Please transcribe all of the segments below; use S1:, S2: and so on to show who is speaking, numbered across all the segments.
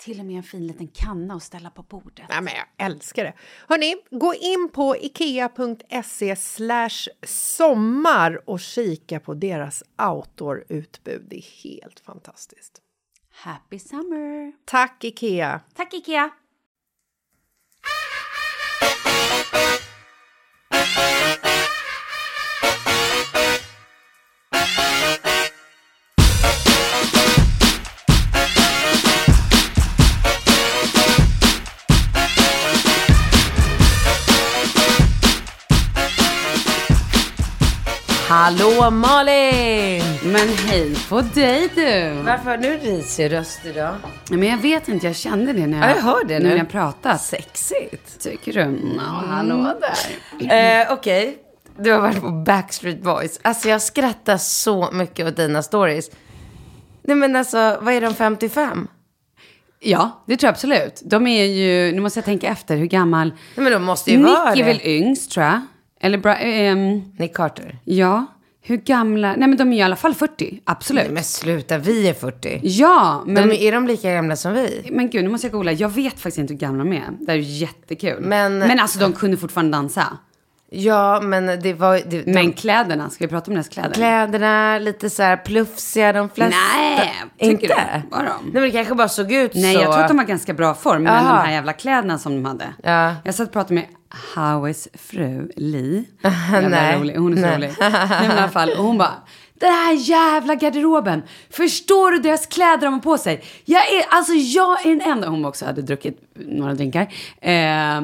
S1: Till och med en fin liten kanna att ställa på bordet.
S2: Nej, men jag älskar det. Hörni, gå in på ikea.se sommar och kika på deras outdoor-utbud. Det är helt fantastiskt.
S1: Happy summer!
S2: Tack, Ikea!
S1: Tack Ikea!
S3: Hallå Malin!
S1: Men hej på dig du!
S3: Varför har du risig röst idag?
S1: Men jag vet inte, jag kände det när
S3: Ja,
S1: jag,
S3: jag hör det nu.
S1: när jag pratat.
S3: Sexigt.
S1: Tycker du? Mm. Hallå där.
S3: Eh, Okej, du har varit på Backstreet Boys. Alltså jag skrattar så mycket åt dina stories. Nej men alltså, vad är de 55?
S1: Ja, det tror jag absolut. De är ju, nu måste jag tänka efter hur gammal.
S3: Nej men de måste ju vara
S1: Nick
S3: det.
S1: är väl yngst tror jag. Eller bra, ehm,
S3: Nick Carter.
S1: ja, hur gamla? Nej men de är i alla fall 40, absolut.
S3: Nej men sluta, vi är 40.
S1: Ja, men,
S3: De, är de lika gamla som vi?
S1: men gud nu måste jag googla. Jag vet faktiskt inte hur gamla de är. Det här är ju jättekul.
S3: Men-
S1: men alltså de kunde fortfarande dansa.
S3: Ja, men det var... Det, de,
S1: Men kläderna, ska vi prata om deras kläder?
S3: Kläderna, lite så här plufsiga de flesta.
S1: Nej, tycker
S3: inte?
S1: du? Var de?
S3: Nej men det kanske bara såg ut så.
S1: Nej, jag tror att de har ganska bra form, men
S3: Jaha.
S1: de här jävla kläderna som de hade.
S3: Ja.
S1: Jag satt och pratade med Howes fru Li. Jävla
S3: Nej.
S1: rolig, hon är så
S3: Nej.
S1: rolig. Nej, men i alla fall, och hon bara, den här jävla garderoben, förstår du deras kläder de har på sig? Jag är, alltså jag är den enda, hon också hade druckit några drinkar. Eh,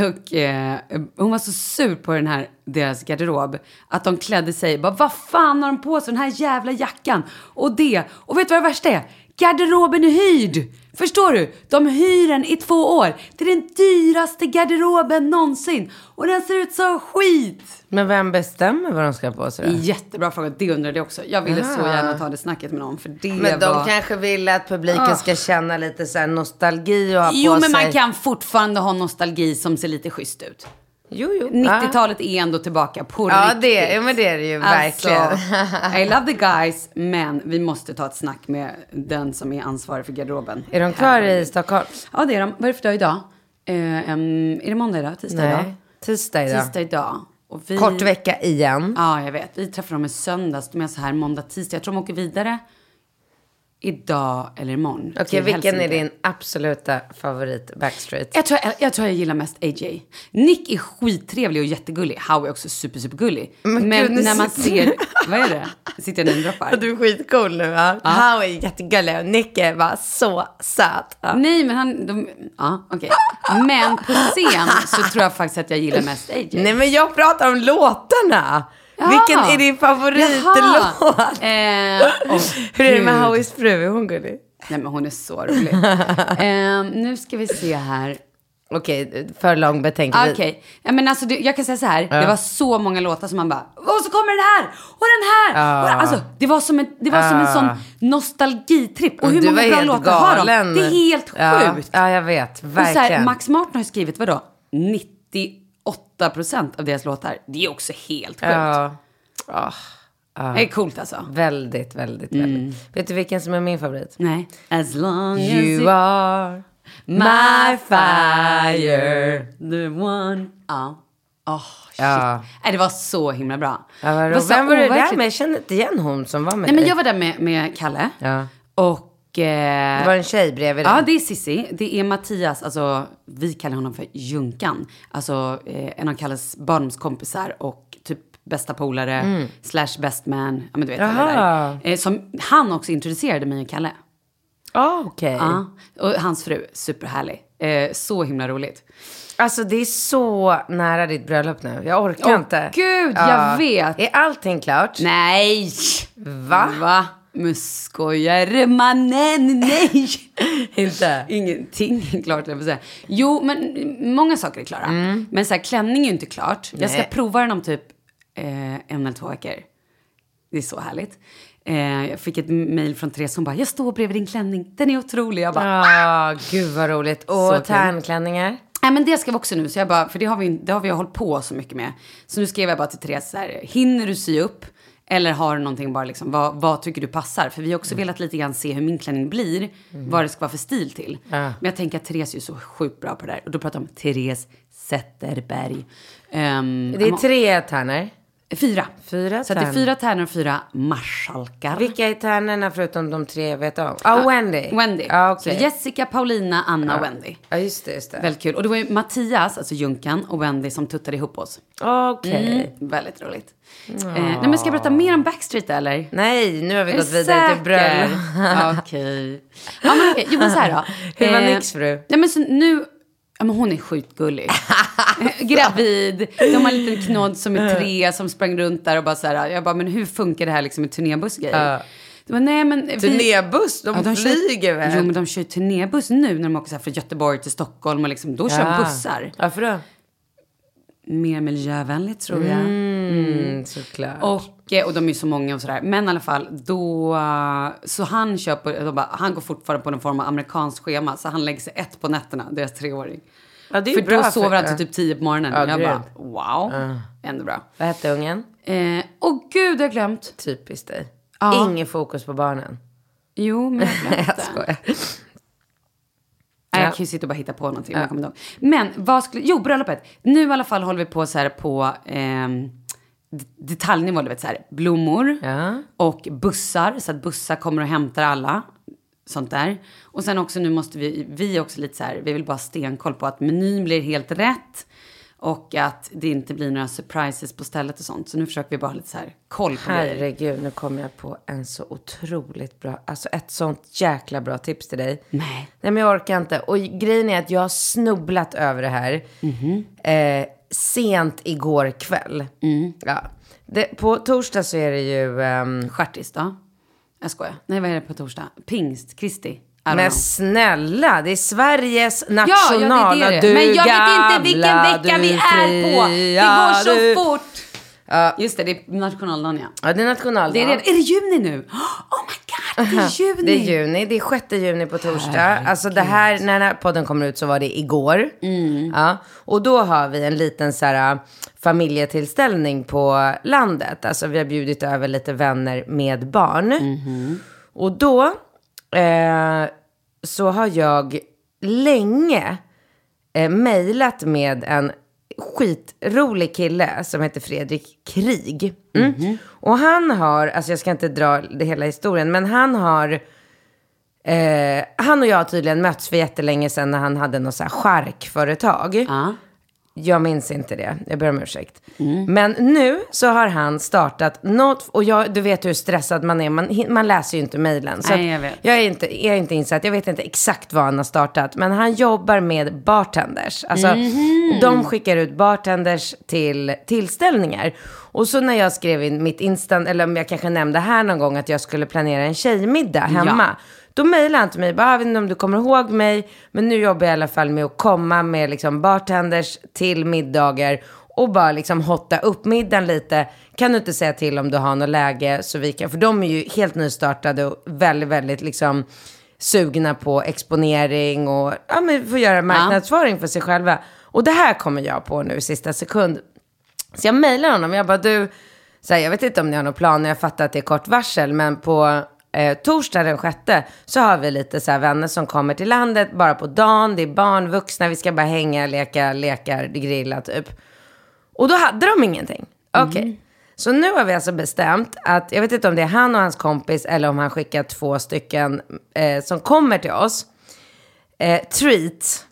S1: och eh, hon var så sur på den här deras garderob. Att de klädde sig, bara vad fan har de på sig den här jävla jackan? Och det. Och vet du vad det värsta är? Garderoben är hyrd! Förstår du? De hyr den i två år. Det är den dyraste garderoben någonsin. Och den ser ut som skit!
S3: Men vem bestämmer vad de ska ha på sig då?
S1: Jättebra fråga, det undrade jag också. Jag ville så
S3: Ah.
S1: gärna ta det snacket med någon för det
S3: Men de
S1: var...
S3: kanske vill att publiken ska känna lite så här nostalgi och ha
S1: Ah. Jo
S3: på
S1: men
S3: sig.
S1: man kan fortfarande ha nostalgi som ser lite schysst ut.
S3: Jo, jo.
S1: 90-talet är ändå tillbaka på
S3: Ah. Ja,
S1: riktigt. Alltså,
S3: det, ja, men det är det ju verkligen.
S1: I love the guys, men vi måste ta ett snack med den som är ansvarig för garderoben.
S3: Är de kvar i Stockholm?
S1: Ja, det är de. Vad är det för dag idag? Eh, em, är det måndag idag? Tisdag idag?
S3: Ah, Nej. Tisdag idag.
S1: Tisdag idag. Och vi...
S3: Kort vecka igen.
S1: Ja, jag vet. Vi träffar dem i söndags. De är så här måndag, tisdag. Jag tror de åker vidare idag eller imorgon.
S3: Okej,
S1: till
S3: vilken är
S1: Helsingborg.
S3: din absoluta favorit Backstreet?
S1: Jag tror jag, jag tror jag gillar mest AJ. Nick är skittrevlig och jättegullig. Howie är också super, super gullig. Men,
S3: gud, nu
S1: när man
S3: sitter-
S1: ser... Vad är det? Sitter jag nu och droppar?
S3: Du är skitcool nu va? Howie är jättegullig och Nick är bara så söt. Ja.
S1: Nej, men han... De, ja, okej. Men på scen så tror jag faktiskt att jag gillar mest AJ.
S3: Nej men jag pratar om låtarna.
S1: Jaha.
S3: Vilken är din favoritlåt?
S1: Jaha. Eh, åh,
S3: Hur är det med
S1: gud.
S3: Howies fru? Är hon gullig?
S1: Nej, men hon är så rolig. Eh, nu ska vi se här.
S3: Okej, för lång
S1: Okej,
S3: betänketid.
S1: ja, men alltså, det, jag kan säga så här. Det var så många låtar som man bara, och så kommer den här och den här. Och, alltså, det var som en, det var som en sån nostalgitripp. Och hur
S3: du
S1: många
S3: var
S1: bra
S3: helt
S1: låtar har
S3: galen.
S1: de? Det är helt
S3: Ja,
S1: sjukt.
S3: ja jag vet.
S1: och så här,
S3: Verkligen.
S1: Max Martin har ju skrivit vadå? 98 procent av deras låtar. Det är också helt sjukt.
S3: ja, Ah.
S1: Det är coolt alltså.
S3: väldigt, väldigt, väldigt. Vet du vilken som är min favorit?
S1: Nej. As long as
S3: You are my fire.
S1: the one. Ja. Åh, shit.
S3: Ja.
S1: Nej, det var så himla bra.
S3: Ja, vad
S1: Det var
S3: roligt.
S1: så
S3: Vem var det där
S1: overkligt.
S3: med? Jag känner inte igen hon som var med
S1: Nej, men
S3: dig.
S1: jag var där med, med Kalle.
S3: Ja.
S1: Och... Eh,
S3: Det var en tjej bredvid dig.
S1: Ja, det är Sissi. Det är Mattias, alltså vi kallar honom för Junkan. Alltså eh, en av Kalles barndomskompisar och typ bästa polare, slash best man. Ja, men du vet alla det
S3: Mm. Jaha.
S1: där. Eh, som han också introducerade mig och Kalle.
S3: ah, okej.
S1: Ja, och hans fru, superhärlig. Eh, så himla roligt.
S3: Alltså det är så nära ditt bröllop nu. Jag orkar
S1: Åh,
S3: inte.
S1: gud, jag vet.
S3: Är allting klart?
S1: Nej!
S3: Va?
S1: Va? Men skojar mannen, nej!
S3: Inte?
S1: Ingenting är klart, jag får säga. Jo, men många saker är klara. Men så här, klänning är ju inte klart. Jag ska
S3: Nej.
S1: prova den om typ eh, en eller två veckor. Det är så härligt. Eh, jag fick ett mail från Therese, hon bara, jag står bredvid din klänning, den är otrolig. Jag bara,
S3: Ja, gud vad roligt.
S1: Så
S3: Och
S1: kul.
S3: tärnklänningar?
S1: Nej men det ska vi också nu, så jag bara, för det har vi, det har vi hållit på så mycket med. Så nu skrev jag bara till Therese så här, hinner du sy upp? Eller har du någonting bara liksom, vad, vad tycker du passar? För vi har
S3: Mm.
S1: också velat lite grann se hur min klänning blir, vad det ska vara för stil till. Men jag tänker att Therese är ju så sjukt bra på det där. Och då pratar jag om Therese Zetterberg. Ehm,
S3: Det är tre tärnor.
S1: fyra.
S3: Fyra
S1: Så att det är
S3: tärn.
S1: fyra tärnor och fyra marskalkar.
S3: Vilka är tärnorna förutom de tre jag vet om? Ja, ah, Wendy.
S1: Wendy.
S3: Ja, okej.
S1: Så Jessica, Paulina, Anna och Wendy.
S3: Ja, just det. Just det.
S1: Väldigt kul. Och det var ju Mattias, alltså Junkan, och Wendy som tuttade ihop oss.
S3: Okej.
S1: Mm, väldigt roligt. Eh, nej, men ska jag berätta mer om Backstreet eller?
S3: Nej, nu har vi
S1: Är
S3: gått
S1: du
S3: vidare till
S1: säker? Mm.
S3: bröllop.
S1: Okej. Ja, men okej. Jo, men så här då. Eh,
S3: Hur var Nicks fru?
S1: Nej, men så nu... Ja, men hon är skitgullig. Eh, Gravid. De har en liten knodd som är tre som sprang runt där och bara så här. Jag bara, men hur funkar det här liksom med turnébuss och grejer? De bara, nej men... vi-
S3: Turnébuss? De,
S1: Ja,
S3: flyger
S1: kör,
S3: väl?
S1: Jo, men de kör ju turnébuss nu när de åker så här från Göteborg till Stockholm och liksom, då kör de bussar.
S3: Ah. Varför då?
S1: Mer miljövänligt tror jag.
S3: Mm, såklart.
S1: Och, eh, och de är ju så många och sådär. Men i alla fall, då... eh, Så han kör på, de bara, han går fortfarande på någon form av amerikanskt schema. Så han lägger sig ett på nätterna, deras treåring.
S3: Ja, det är ju
S1: för
S3: bra
S1: då sover
S3: för-
S1: han till typ tio på morgonen.
S3: Ja,
S1: jag bara,
S3: grymt.
S1: wow. Ändå bra.
S3: Vad hette ungen?
S1: Eh, och gud, jag har glömt.
S3: Typiskt dig.
S1: Ja.
S3: Ingen fokus på barnen.
S1: Jo, men jag har glömt
S3: Jag
S1: det.
S3: skojar.
S1: Nej,
S3: Ja.
S1: jag kan ju sitta och bara hitta på någonting. men Jag kommer inte ihåg. Men vad skulle, jo bröllopet. Nu i alla fall håller vi på så här på ehm, d- detaljnivå. Du vet så här blommor
S3: Ja.
S1: och bussar. Så att bussar kommer och hämtar alla. Sånt där. Och sen också nu måste vi, vi är också lite så här, vi vill bara ha stenkoll på att menyn blir helt rätt. Och att det inte blir några surprises på stället och sånt. Så nu försöker vi bara ha lite så här koll på grejer.
S3: Herregud, nu kom jag på en så otroligt bra, alltså ett sånt jäkla bra tips till dig.
S1: Nej. Mhm.
S3: Nej men jag orkar inte. Och grejen är att jag har snubblat över det här. Eh, sent igår kväll.
S1: Mm.
S3: Ja. Det, på torsdag så är det ju... ehm,
S1: Stjärtis då? Jag skojar. Nej, vad är det på torsdag? Pingst? Kristi? I don't
S3: men
S1: know.
S3: snälla, det är Sveriges
S1: Ja,
S3: nationaldag.
S1: ja, det är det.
S3: Du
S1: men jag vet inte vilken
S3: gamla,
S1: vecka
S3: du
S1: vi är på.
S3: fria,
S1: Det går så
S3: du-
S1: fort. Just det, det är nationaldagen ja.
S3: Ja, det är nationaldagen.
S1: Det är, redan, är det juni nu? Oh my god, det är juni!
S3: Det är juni, det är 6 juni på torsdag. Alltså det här, när den här podden kommer ut så var det igår.
S1: Mm.
S3: Ja. Och då har vi en liten så här, familjetillställning på landet. Alltså vi har bjudit över lite vänner med barn.
S1: Mm-hmm.
S3: Och då eh, så har jag länge eh, mejlat med en skitrolig kille som heter Fredrik Krig. Mm.
S1: Mhm.
S3: Och han har, alltså jag ska inte dra det hela historien, men han har Eh, han och jag har tydligen mötts för jättelänge sedan när han hade något så här charkföretag.
S1: Ja. Mm.
S3: Jag minns inte det, jag ber om ursäkt. Men nu så har han startat något, och jag, du vet hur stressad man är, man, hin- man läser ju inte mejlen. Så
S1: Nej,
S3: att
S1: jag vet.
S3: jag är inte, är inte insatt, jag vet inte exakt vad han har startat. Men han jobbar med bartenders. Alltså, De skickar ut bartenders till tillställningar. Och så när jag skrev in mitt instant, eller om jag kanske nämnde här någon gång att jag skulle planera en tjejmiddag hemma. Då mejlade han till mig, bara, jag vet inte om du kommer ihåg mig, men nu jobbar jag i alla fall med att komma med liksom bartenders till middagar och bara liksom hotta upp middagen lite. Kan du inte säga till om du har något läge så vi kan, för de är ju helt nystartade och väldigt, väldigt liksom sugna på exponering och ja, men få göra marknadsföring för sig själva. Och det här kommer jag på nu i sista sekund. Så jag mejlar honom. Jag bara, du, så här, jag vet inte om ni har någon plan. Jag fattar att det är kort varsel. Men på eh, torsdag den sjätte så har vi lite så här, vänner som kommer till landet bara på dagen. Det är barn, vuxna. Vi ska bara hänga, leka, lekar, grilla typ. Och då hade de ingenting. Okej. Så nu har vi alltså bestämt att, jag vet inte om det är han och hans kompis eller om han skickar två stycken eh, som kommer till oss. Eh, treat,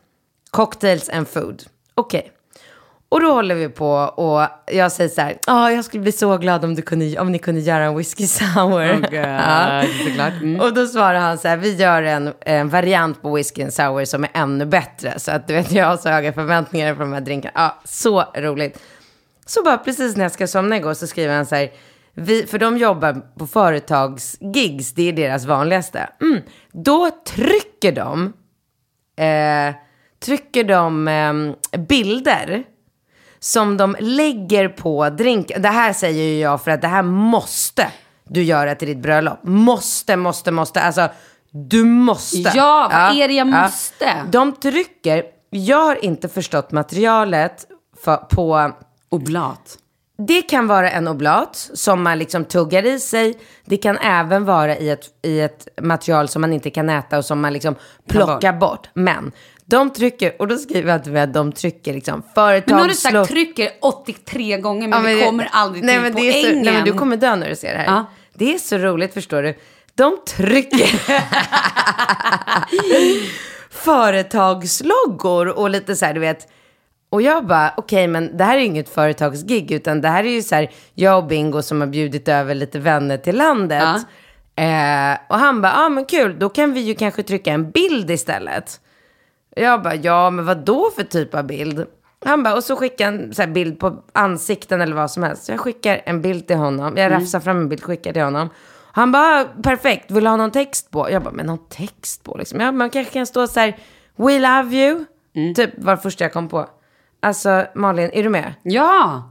S3: cocktails and food. Okej. Och då håller vi på och jag säger så här, ja jag skulle bli så glad om, du kunde, om ni kunde göra en whisky sour. Ja. Och då svarar han så här, vi gör en, en variant på whisky and sour som är ännu bättre. Så att du vet, jag har så höga förväntningar på de här drinkarna. Ja, så roligt. Så bara precis när jag ska somna igår så skriver han så här, vi, för de jobbar på företagsgigs, det är deras vanligaste. Mm. Då trycker de, eh, trycker de eh, bilder som de lägger på drink. Det här säger ju jag för att det här måste du göra till ditt bröllop. Måste, måste, måste. Alltså, du måste.
S1: Ja, vad är det jag måste?
S3: De trycker, jag har inte förstått materialet för, på
S1: Oblat.
S3: det kan vara en oblat som man liksom tuggar i sig. Det kan även vara i ett, i ett material som man inte kan äta och som man liksom plockar bort. Men de trycker, och då skriver jag till mig att de trycker liksom företag.
S1: Men nu har du sagt
S3: slå-
S1: trycker 83 gånger men,
S3: Ja, men
S1: vi
S3: det-
S1: kommer aldrig
S3: nej,
S1: till
S3: men det är
S1: poängen.
S3: så, nej, men Du kommer dö när du ser det här.
S1: Ja.
S3: Det är så roligt förstår du. De trycker företagsloggor och lite så här, du vet. Och jag bara, okej men det här är ju inget företagsgig utan det här är ju så här, jag och Bingo som har bjudit över lite vänner till landet. Eh, och han bara, ja ah, men kul, då kan vi ju kanske trycka en bild istället. Jag bara, ja men vad då för typ av bild? Han bara, och så skickar han så här bild på ansikten eller vad som helst. Så jag skickar en bild till honom. Jag rafsar fram en bild, skickar till honom. Han bara, "Ah, perfekt, vill du ha någon text på? Jag bara, men någon text på liksom? Ja, man kanske kan stå så här, we love you. Typ var det första jag kom på. Alltså Malin, är du med?
S1: Ja!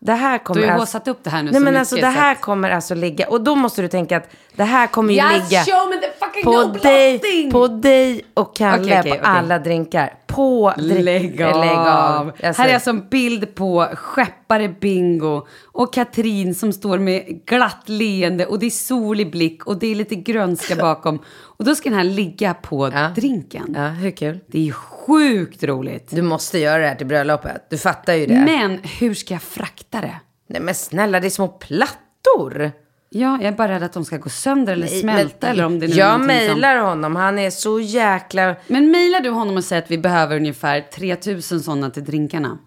S3: Det här kommer
S1: har ju
S3: alltså...
S1: haussat upp det här nu
S3: Nej
S1: så
S3: men
S1: mycket,
S3: alltså det
S1: så
S3: här kommer alltså ligga. Och då måste du tänka att det här kommer ju
S1: Yes,
S3: ligga
S1: show me the fucking
S3: på
S1: no
S3: dig,
S1: blotting!
S3: på dig och Kalle
S1: Okej, okej,
S3: på
S1: okej.
S3: alla drinkar. På drink-
S1: Lägg av.
S3: Lägg av. Jag
S1: Här är
S3: säger-
S1: alltså en bild på skeppare Bingo och Katrin som står med glatt leende och det är solig blick och det är lite grönska bakom. Och då ska den här ligga på drinken.
S3: Ja, hur kul?
S1: Det är ju sjukt roligt.
S3: Du måste göra det här till bröllopet. Du fattar ju det.
S1: Men hur ska jag frakta det?
S3: Nej men snälla, det är små plattor.
S1: Ja, jag är bara rädd att de ska gå sönder eller smälta
S3: Men-
S1: eller om det nu är
S3: Jag
S1: någonting som-
S3: mejlar honom, han är så jäkla...
S1: Men mejlar du honom och säger att vi behöver ungefär 3000 sådana till drinkarna?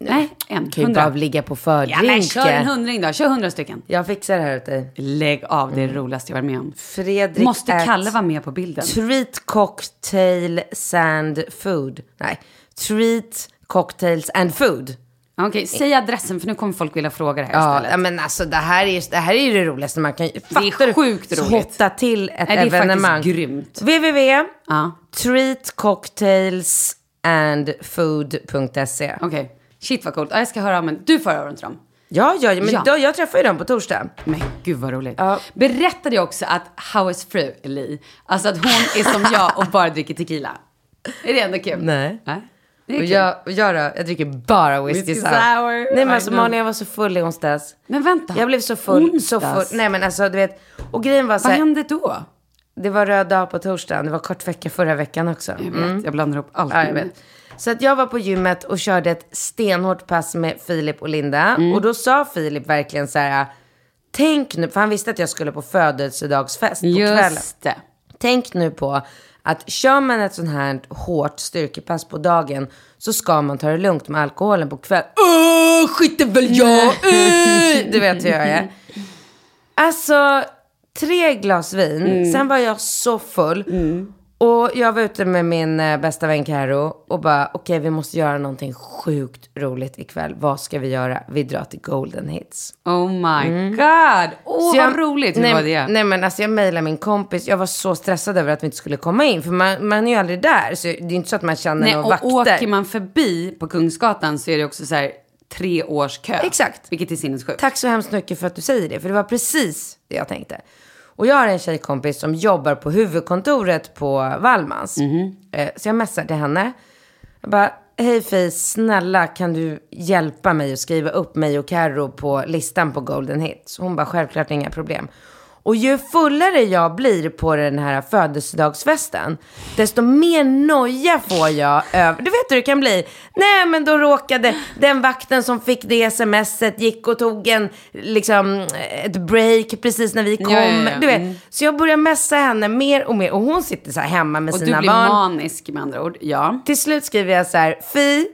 S1: Nej, en.
S3: Kan ju bara
S1: Hundra.
S3: ligga på
S1: Ja, men kör en
S3: fördrinken.
S1: hundring då. Kör hundra stycken.
S3: Jag fixar det här åt dig.
S1: Lägg av, det är det roligaste jag varit med om.
S3: Mm. Fredrik
S1: Måste
S3: at-
S1: Kalle vara med på bilden?
S3: Treat cocktail sand food. Nej, treat cocktails and food.
S1: Okej, säg adressen för nu kommer folk vilja fråga det här
S3: Ja,
S1: istället.
S3: ja, men alltså det här är ju det, här är ju det roligaste man kan
S1: Det är
S3: fattar du?
S1: sjukt roligt.
S3: Hotta till ett
S1: Nej, det är faktiskt
S3: evenemang.
S1: grymt.
S3: www.
S1: Ja.
S3: treatcocktailsandfood.se
S1: Okej, shit vad coolt. Ja, jag ska höra, men du får höra av dem.
S3: Ja, ja, men
S1: Ja.
S3: Då, jag träffar ju dem på torsdag.
S1: Men gud vad roligt. Berättade jag också att Howes fru är Li, alltså att hon är som jag och bara dricker tequila. Är det ändå kul?
S3: Nej.
S1: Det är
S3: Och
S1: kul.
S3: jag, och jag då, jag dricker bara whisky,
S1: Whisky
S3: sour.
S1: sour.
S3: Nej men
S1: I
S3: alltså
S1: know.
S3: Malin jag var så full i onsdags.
S1: Men vänta.
S3: Jag blev så full, så
S1: Onsdags?
S3: full. Nej men alltså du vet. Och grejen var så
S1: Vad
S3: här,
S1: hände då?
S3: det var röd dag på torsdagen, det var kort vecka förra veckan också. Mm.
S1: Jag vet, jag blandar ihop allt.
S3: Ja, jag vet. Så att jag var på gymmet och körde ett stenhårt pass med Filip och Linda.
S1: Mm.
S3: Och då sa Filip verkligen så här, tänk nu, för han visste att jag skulle på födelsedagsfest på kvällen.
S1: Just det.
S3: Tänk nu på att kör man ett sånt här hårt styrkepass på dagen så ska man ta det lugnt med alkoholen på kvällen. Åh, skiter väl jag i! Du vet hur jag är. Alltså, tre glas vin. Sen var jag så full. Och jag var ute med min eh, bästa vän Karo och bara, okej vi måste göra någonting sjukt roligt ikväll. Vad ska vi göra? Vi drar till Golden Hits.
S1: Oh my god. Åh,
S3: Mm.
S1: vad
S3: Så
S1: roligt. Hur
S3: nej,
S1: var det?
S3: Nej men alltså jag mejlade min kompis, jag var så stressad över att vi inte skulle komma in. För man, man är ju aldrig där, så det är inte så att man känner
S1: Nej,
S3: några
S1: och
S3: vakter.
S1: åker man förbi på Kungsgatan så är det också så här tre års kö.
S3: Exakt.
S1: Vilket är sinnessjukt.
S3: Tack så hemskt mycket för att du säger det, för det var precis det jag tänkte. Och jag har en tjejkompis som jobbar på huvudkontoret på Wallmans.
S1: Mhm.
S3: Eh, Så jag messar till henne. Jag bara, hej Fej, snälla kan du hjälpa mig och skriva upp mig och Carro på listan på Golden Hits? Hon bara, självklart inga problem. Och ju fullare jag blir på den här födelsedagsfesten, desto mer noja får jag över... Du vet hur det kan bli. Nej, men då råkade den vakten som fick det smset gick och tog en, liksom, ett break precis när vi kom.
S1: Ja, ja, ja.
S3: Du vet. Så jag börjar messa henne mer och mer. Och hon sitter så här hemma med
S1: Och du
S3: sina
S1: blir
S3: barn.
S1: manisk med andra ord. Ja.
S3: Till slut skriver jag så här, Fi,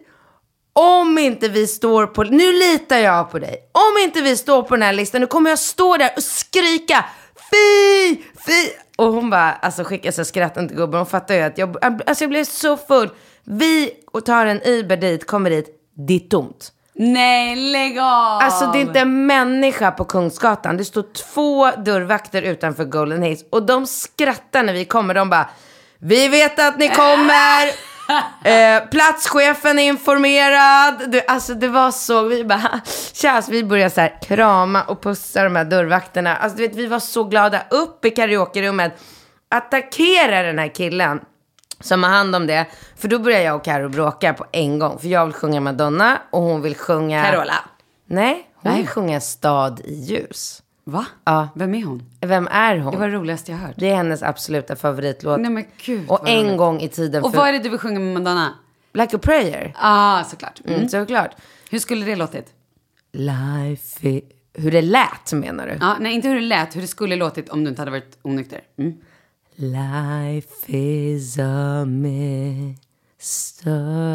S3: om inte vi står på, nu litar jag på dig. Om inte vi står på den här listan, nu kommer jag stå där och skrika Fi, Fi. Och hon bara, alltså skickar så här skrattande till gubben, hon fattar ju att jag, alltså jag blev så full. Vi och tar en Uber dit, kommer dit, det är tomt.
S1: Nej, lägg av!
S3: Alltså det är inte en människa på Kungsgatan. Det står två dörrvakter utanför Golden Hills och de skrattar när vi kommer. De bara, vi vet att ni kommer. Eh, platschefen är informerad. Du, alltså det var så, vi bara, tjas, vi började så här krama och pussa de här dörrvakterna. Alltså du vet, vi var så glada. Upp i karaokerummet, attackera den här killen som har hand om det. För då börjar jag och Karo bråka på en gång. För jag vill sjunga Madonna och hon vill sjunga...
S1: Carola.
S3: Nej, hon
S1: Nej.
S3: vill sjunga Stad i ljus.
S1: Va?
S3: Ja.
S1: Vem är hon?
S3: Vem är
S1: Det var
S3: hon?
S1: det roligaste jag hört.
S3: Det är hennes absoluta favoritlåt.
S1: Nej men gud.
S3: och
S1: vad
S3: en
S1: roligt.
S3: gång i tiden
S1: Och
S3: för
S1: vad är det du vill sjunga med Madonna?
S3: Like a prayer.
S1: Ah, såklart. Mm.
S3: Mm, Såklart.
S1: Hur skulle det låtit?
S3: Life i... Hur det lät menar du?
S1: Ja, nej, inte hur det lät, hur det skulle låtit om du inte hade varit onykter. Mm.
S3: Life is a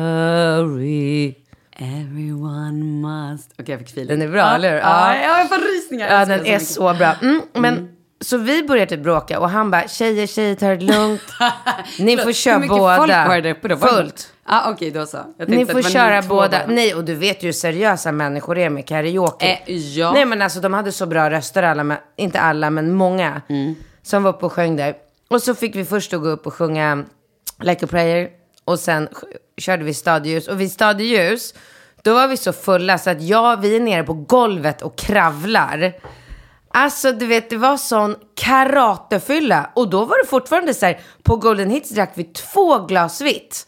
S3: mystery.
S1: Everyone must... Okej, jag fick feeling.
S3: Den är bra, eller hur?
S1: Ja,
S3: Ja.
S1: ja, jag får rysningar.
S3: Ja,
S1: Jag
S3: den
S1: älskar
S3: är
S1: den så
S3: så bra. Mm, men, Så vi börjar typ bråka och han bara, tjejer, tjejer, ta det lugnt. Ni får
S1: mycket.
S3: köra
S1: Hur mycket
S3: båda.
S1: folk var det där uppe då? Var det-
S3: Fullt.
S1: Ja, ah, okej, då så. Jag tänkte
S3: Ni
S1: att det
S3: får
S1: var
S3: köra
S1: två
S3: båda.
S1: bara.
S3: Nej, och du vet ju hur seriösa människor är med karaoke.
S1: Eh, ja.
S3: Nej, men alltså de hade så bra röster alla, men- inte alla, men många
S1: Mm.
S3: som var uppe och sjöng där. Och så fick vi först då gå upp och sjunga Like a prayer och sen sj- körde vi stadljus. Och vid stadljus, då var vi så fulla så att jag, vi är nere på golvet och kravlar. Alltså du vet det var sån karatefylla och då var det fortfarande så här på Golden Hits drack vi två glas vitt.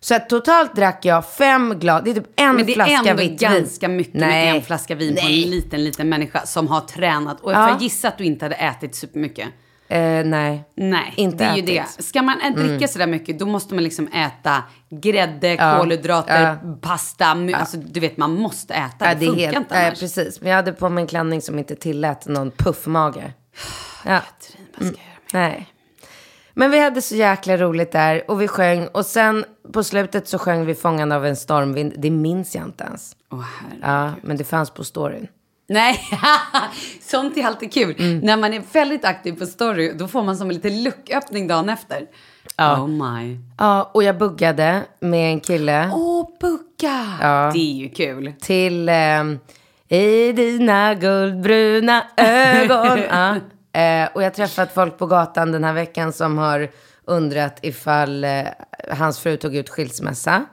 S3: Så att totalt drack jag fem glas, det är typ en
S1: Men det
S3: flaska vitt
S1: är ändå
S3: vin.
S1: ganska mycket
S3: Nej.
S1: med en flaska vin på en liten, liten människa som har tränat. Och
S3: Ja.
S1: jag får gissa att du inte hade ätit supermycket.
S3: Eh, nej.
S1: Nej,
S3: Inte
S1: det är ju
S3: ätit. Mm.
S1: det. Ska man ä- dricka sådär mycket, då måste man liksom äta grädde, kolhydrater, pasta. my- Alltså, du vet, man måste äta.
S3: Ja,
S1: det,
S3: det är
S1: funkar
S3: helt,
S1: inte
S3: nej,
S1: annars.
S3: precis. Men jag hade på mig en klänning som inte tillät någon puffmage. Ja.
S1: Katrin, vad ska jag göra med-
S3: Nej. Men vi hade så jäkla roligt där och vi sjöng och sen på slutet så sjöng vi Fångad av en stormvind. Det minns jag inte ens.
S1: Åh, herre.
S3: Ja, men det fanns på storyn.
S1: Nej, sånt är alltid kul.
S3: Mm.
S1: När man är väldigt aktiv på story, då får man som en liten lucköppning dagen efter. Oh my.
S3: Ja, och jag buggade med en kille
S1: Åh, bucka! Det är ju kul.
S3: till ehm, I dina guldbruna ögon. ja. eh, och jag har träffat folk på gatan den här veckan som har undrat ifall eh, hans fru tog ut skilsmässa.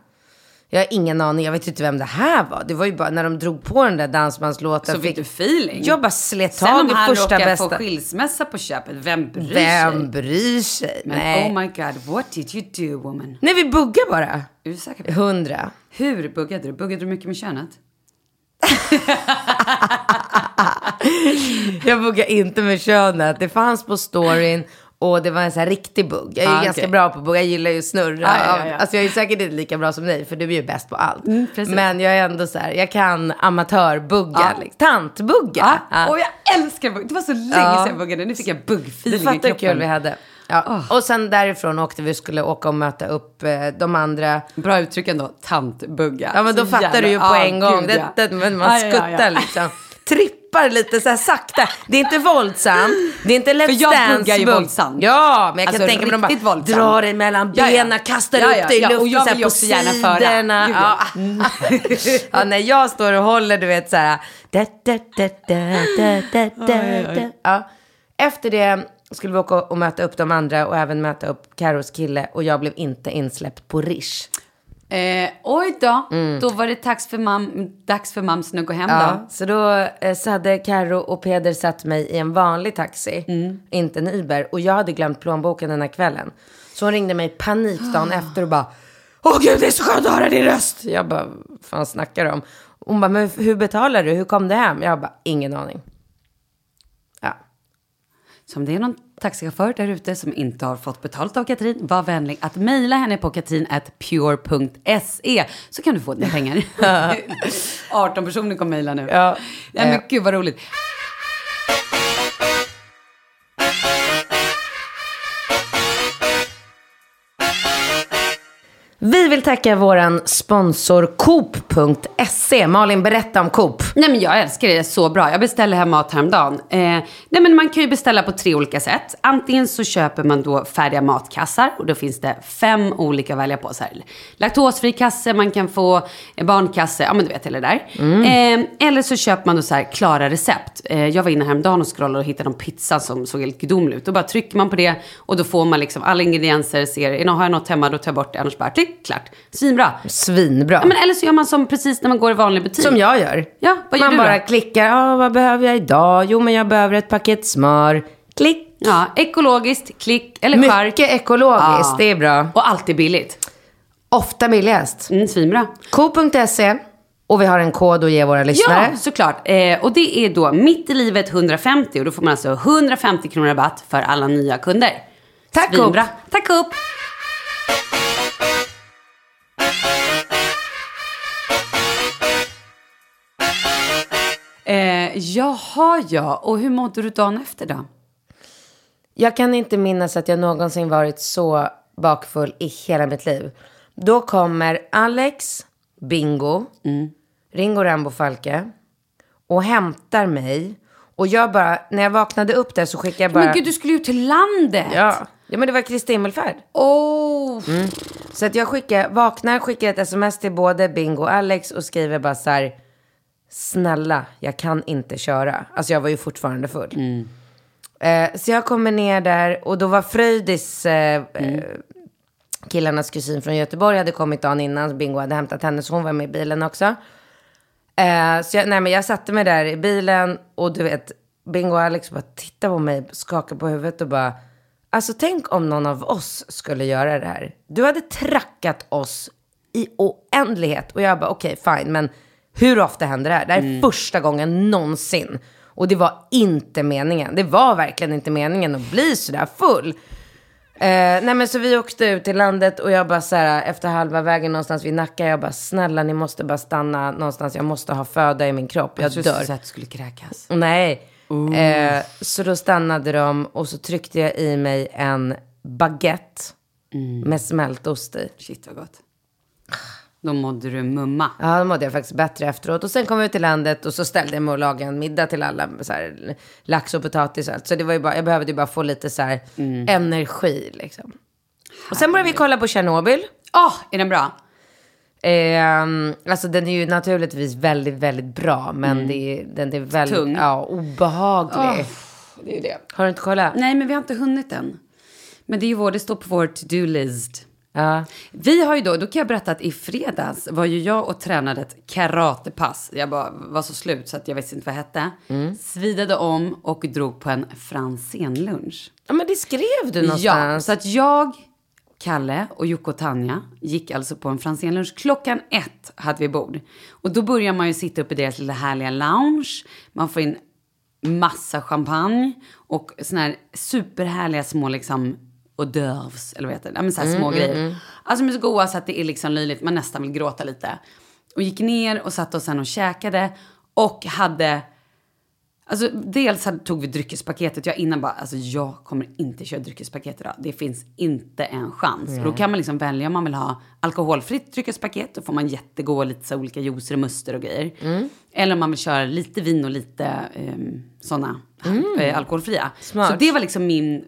S3: Jag har ingen aning, jag vet inte vem det här var. Det var ju bara när de drog på den där dansbandslåten.
S1: Så fick du feeling.
S3: Jag bara slet
S1: Sen
S3: tag
S1: om
S3: i
S1: han
S3: första
S1: råkar få
S3: bästa.
S1: skilsmässa på köpet, vem bryr sig?
S3: Vem bryr sig?
S1: Men
S3: Nej.
S1: oh my god, what did you do woman?
S3: Nej, vi buggar bara.
S1: Är du säker på det?
S3: Hundra.
S1: Hur buggade du? Buggade du mycket med könet?
S3: Jag buggar inte med könet. Det fanns på storyn och det var en så här riktig bugg. Jag är
S1: Ah,
S3: ju
S1: okej.
S3: ganska bra på bugg. Jag gillar ju att snurra.
S1: Ah, ja, ja, ja.
S3: Alltså jag är säkert inte lika bra som dig för du är ju bäst på allt.
S1: precis.
S3: Men jag är ändå så här, jag kan amatörbugga.
S1: Ja.
S3: Liksom. Tantbugga.
S1: Ja.
S3: Ja.
S1: Och Ah, jag älskar bugg. Det var så länge
S3: Ja.
S1: sedan jag buggade. Nu fick jag buggfeeling
S3: Du
S1: i
S3: fattar hur
S1: kroppen.
S3: kul vi hade. Ja. Och sen därifrån åkte vi och skulle åka och möta upp eh, de andra.
S1: Bra uttryck ändå, tantbugga.
S3: Ja men då
S1: Så
S3: fattar
S1: jävla-
S3: du ju på
S1: Ja,
S3: en gång.
S1: gud,
S3: det,
S1: ja.
S3: det, men man
S1: Ja, ja, ja,
S3: skuttar
S1: ja.
S3: liksom. Trippar lite så här sakta. Det är inte våldsamt. Det är inte Let's
S1: För jag
S3: Dance.
S1: buggar ju
S3: bugg.
S1: våldsamt.
S3: Ja, men jag
S1: Alltså,
S3: kan tänka mig de
S1: riktigt
S3: bara
S1: våldsamt.
S3: drar dig mellan
S1: Ja, ja.
S3: benen, kastar
S1: Ja,
S3: upp
S1: ja,
S3: dig i
S1: ja, och
S3: luften
S1: jag
S3: så här
S1: vill ju
S3: på
S1: också gärna föra.
S3: sidorna.
S1: Gud,
S3: Ja.
S1: ja.
S3: ja, när jag står och håller, du vet så här. Da, da, da, da, da, da, da, da. Ja. Efter det skulle vi åka och möta upp de andra och även möta upp Karos kille och jag blev inte insläppt på Rish.
S1: Eh, oj då, då var det dags för, mam, dags för mamsen att gå hem
S3: Mm. Ja,
S1: då.
S3: så då eh, så hade Karo och Peder satt mig i en vanlig taxi, inte en Uber. Och jag hade glömt plånboken den här kvällen. Så hon ringde mig i panik dagen efter och bara, Åh gud det är så skönt att höra din röst! Jag bara, "Vad fan snackar du om? Hon bara, men hur betalar du? Hur kom du hem? Jag bara, ingen aning. Ja.
S1: Så om det är någon taxichaufför där ute som inte har fått betalt av Katrin, var vänlig att mejla henne på katrin.pure.se så kan du få dina pengar. 18 personer kommer mejla nu.
S3: Ja. Eh.
S1: Nej, men gud vad roligt.
S3: Vi vill tacka våran sponsor Coop.se. E. Malin, berätta om Coop.
S1: Nej men jag älskar det, det är så bra. Jag beställde hem mat häromdagen. Eh, nej men man kan ju beställa på tre olika sätt. Antingen så köper man då färdiga matkassar och då finns det fem olika att välja på. Så här, laktosfri kasse, man kan få eh, barnkasse, ja men du vet hela det där. Eh, eller så köper man då så här klara recept. Eh, jag var inne häromdagen och scrollade och hittade någon pizza som såg helt gudomlig ut. Då bara trycker man på det och då får man liksom alla ingredienser, ser, är nå- har jag något hemma då tar jag bort det, annars bara klick, klart. Svinbra.
S3: Svinbra.
S1: Ja, men eller så gör man som precis när man går i vanlig butik.
S3: Som jag gör.
S1: Ja, vad gör
S3: Man
S1: du
S3: bara
S1: då?
S3: klickar. Ja, vad behöver jag idag? Jo, men jag behöver ett paket smör. Klick.
S1: Ja, ekologiskt, klick eller
S3: Mycket
S1: chark.
S3: ekologiskt.
S1: Ja.
S3: Det är bra.
S1: Och alltid billigt.
S3: Ofta billigast.
S1: Mm, svinbra.
S3: Co.se. Och vi har en kod att ge våra lyssnare.
S1: Ja, såklart. Eh, och det är då mitt i livet 150 och då får man alltså 150 kronor rabatt för alla nya kunder.
S3: Tack,
S1: Svinbra.
S3: Coop.
S1: Tack upp. Eh, jaha ja, och hur mådde du dagen efter då?
S3: Jag kan inte minnas att jag någonsin varit så bakfull i hela mitt liv. Då kommer Alex, Bingo,
S1: Mm.
S3: Ringo Rambo Falke och hämtar mig. Och jag bara, när jag vaknade upp där så skickade jag bara...
S1: Men gud, du skulle ju till landet!
S3: ja. Mm. ja, men det var Kristi himmelfärd.
S1: Oh.
S3: Så att jag skickar, vaknar, skickar ett sms till både Bingo och Alex och skriver bara så här. Snälla, jag kan inte köra. Alltså jag var ju fortfarande full. Eh, så jag kommer ner där och då var Fröjdis, eh, eh, killarnas kusin från Göteborg, hade kommit dagen innan. Bingo hade hämtat henne så hon var med i bilen också. Eh, så jag, nej, men jag satte mig där i bilen och du vet, Bingo och Alex bara tittar på mig, skakar på huvudet och bara, alltså tänk om någon av oss skulle göra det här. Du hade trackat oss i oändlighet och jag bara okej fine, men hur ofta händer det här? Det här är första gången någonsin. Och det var inte meningen. Det var verkligen inte meningen att bli sådär full. Eh, nej men så vi åkte ut till landet och jag bara så här efter halva vägen någonstans vid Nacka, jag bara snälla ni måste bara stanna någonstans, jag måste ha föda i min kropp, jag
S1: Jag trodde
S3: dör.
S1: så att Alltså, du skulle kräkas.
S3: Nej. Eh, så då stannade de och så tryckte jag i mig
S1: Mm.
S3: en baguette med smältost i.
S1: Shit vad gott. Då mådde du mumma.
S3: Ja, då mådde jag faktiskt bättre efteråt. Och sen kom vi ut till landet och så ställde jag mig och lagade en middag till alla. med Så här, lax och potatis och allt. Så det var ju bara, jag behövde ju bara få lite så här
S1: Mm.
S3: energi liksom. Och sen började vi kolla på Tjernobyl.
S1: Ah, är den bra?
S3: Ehm, alltså den är ju naturligtvis väldigt, väldigt bra. Men det är, den är väldigt
S1: Mm. Tung. Ah,
S3: Ja, obehaglig.
S1: det är det.
S3: Har du inte kollat?
S1: Nej, men vi har inte hunnit än. Men det är ju vår, det står på vår to-do-list.
S3: Ja.
S1: Vi har ju då, då kan jag berätta att i fredags var ju jag och tränade ett karatepass. Jag bara var så slut så att jag visste inte vad jag hette. Svidade om och drog på en Franzén-lunch.
S3: ja, men det skrev du någonstans.
S1: Ja, så att jag, Kalle och Jocke och Tanja gick alltså på en Franzénlunch. Klockan ett hade vi bord. Och då börjar man ju sitta uppe i deras lilla härliga lounge. Man får in massa champagne och såna här superhärliga små liksom hors d'oeuvres, eller vad heter det? Ja, men så här
S3: Mm,
S1: små grejer. Alltså de är så goda så att det är liksom löjligt, man nästan vill gråta lite. Och gick ner och satte oss sen och käkade och hade Alltså, dels hade, tog vi dryckespaketet. Jag innan bara, alltså, jag kommer inte köra dryckespaket idag. Det finns inte en chans. Då kan man liksom välja om man vill ha alkoholfritt dryckespaket. Då får man jättegoda lite så här olika juicer och muster och grejer.
S3: Mm.
S1: Eller om man vill köra lite vin och lite um, sådana
S3: Mm.
S1: eh, alkoholfria. Så det var liksom min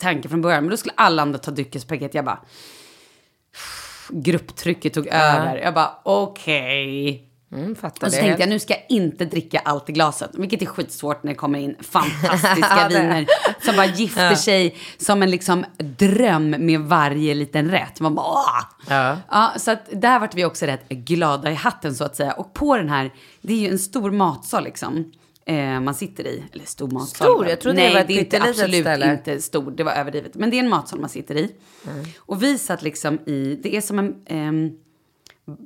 S1: tanke från början. Men då skulle alla andra ta dryckespaket. Jag bara, grupptrycket tog över. Jag bara, okej.
S3: Mm, fattar
S1: Och så
S3: det.
S1: tänkte jag, nu ska jag inte dricka allt i glaset. Vilket är skitsvårt när det kommer in fantastiska viner som bara gifter sig som en liksom dröm med varje liten rätt. Man bara, "Åh!"
S3: Ja.
S1: Ja, så att där vart vi också rätt glada i hatten så att säga. Och på den här, det är ju en stor matsal liksom. Eh, man sitter i, eller stor matsal.
S3: Stor? Jag trodde det
S1: Nej,
S3: var ett
S1: det är inte,
S3: pyttelitet
S1: absolut
S3: ställe. Mm.
S1: inte stor, det var överdrivet. Men det är en matsal man sitter i. Och vi satt liksom i, det är som en... ehm,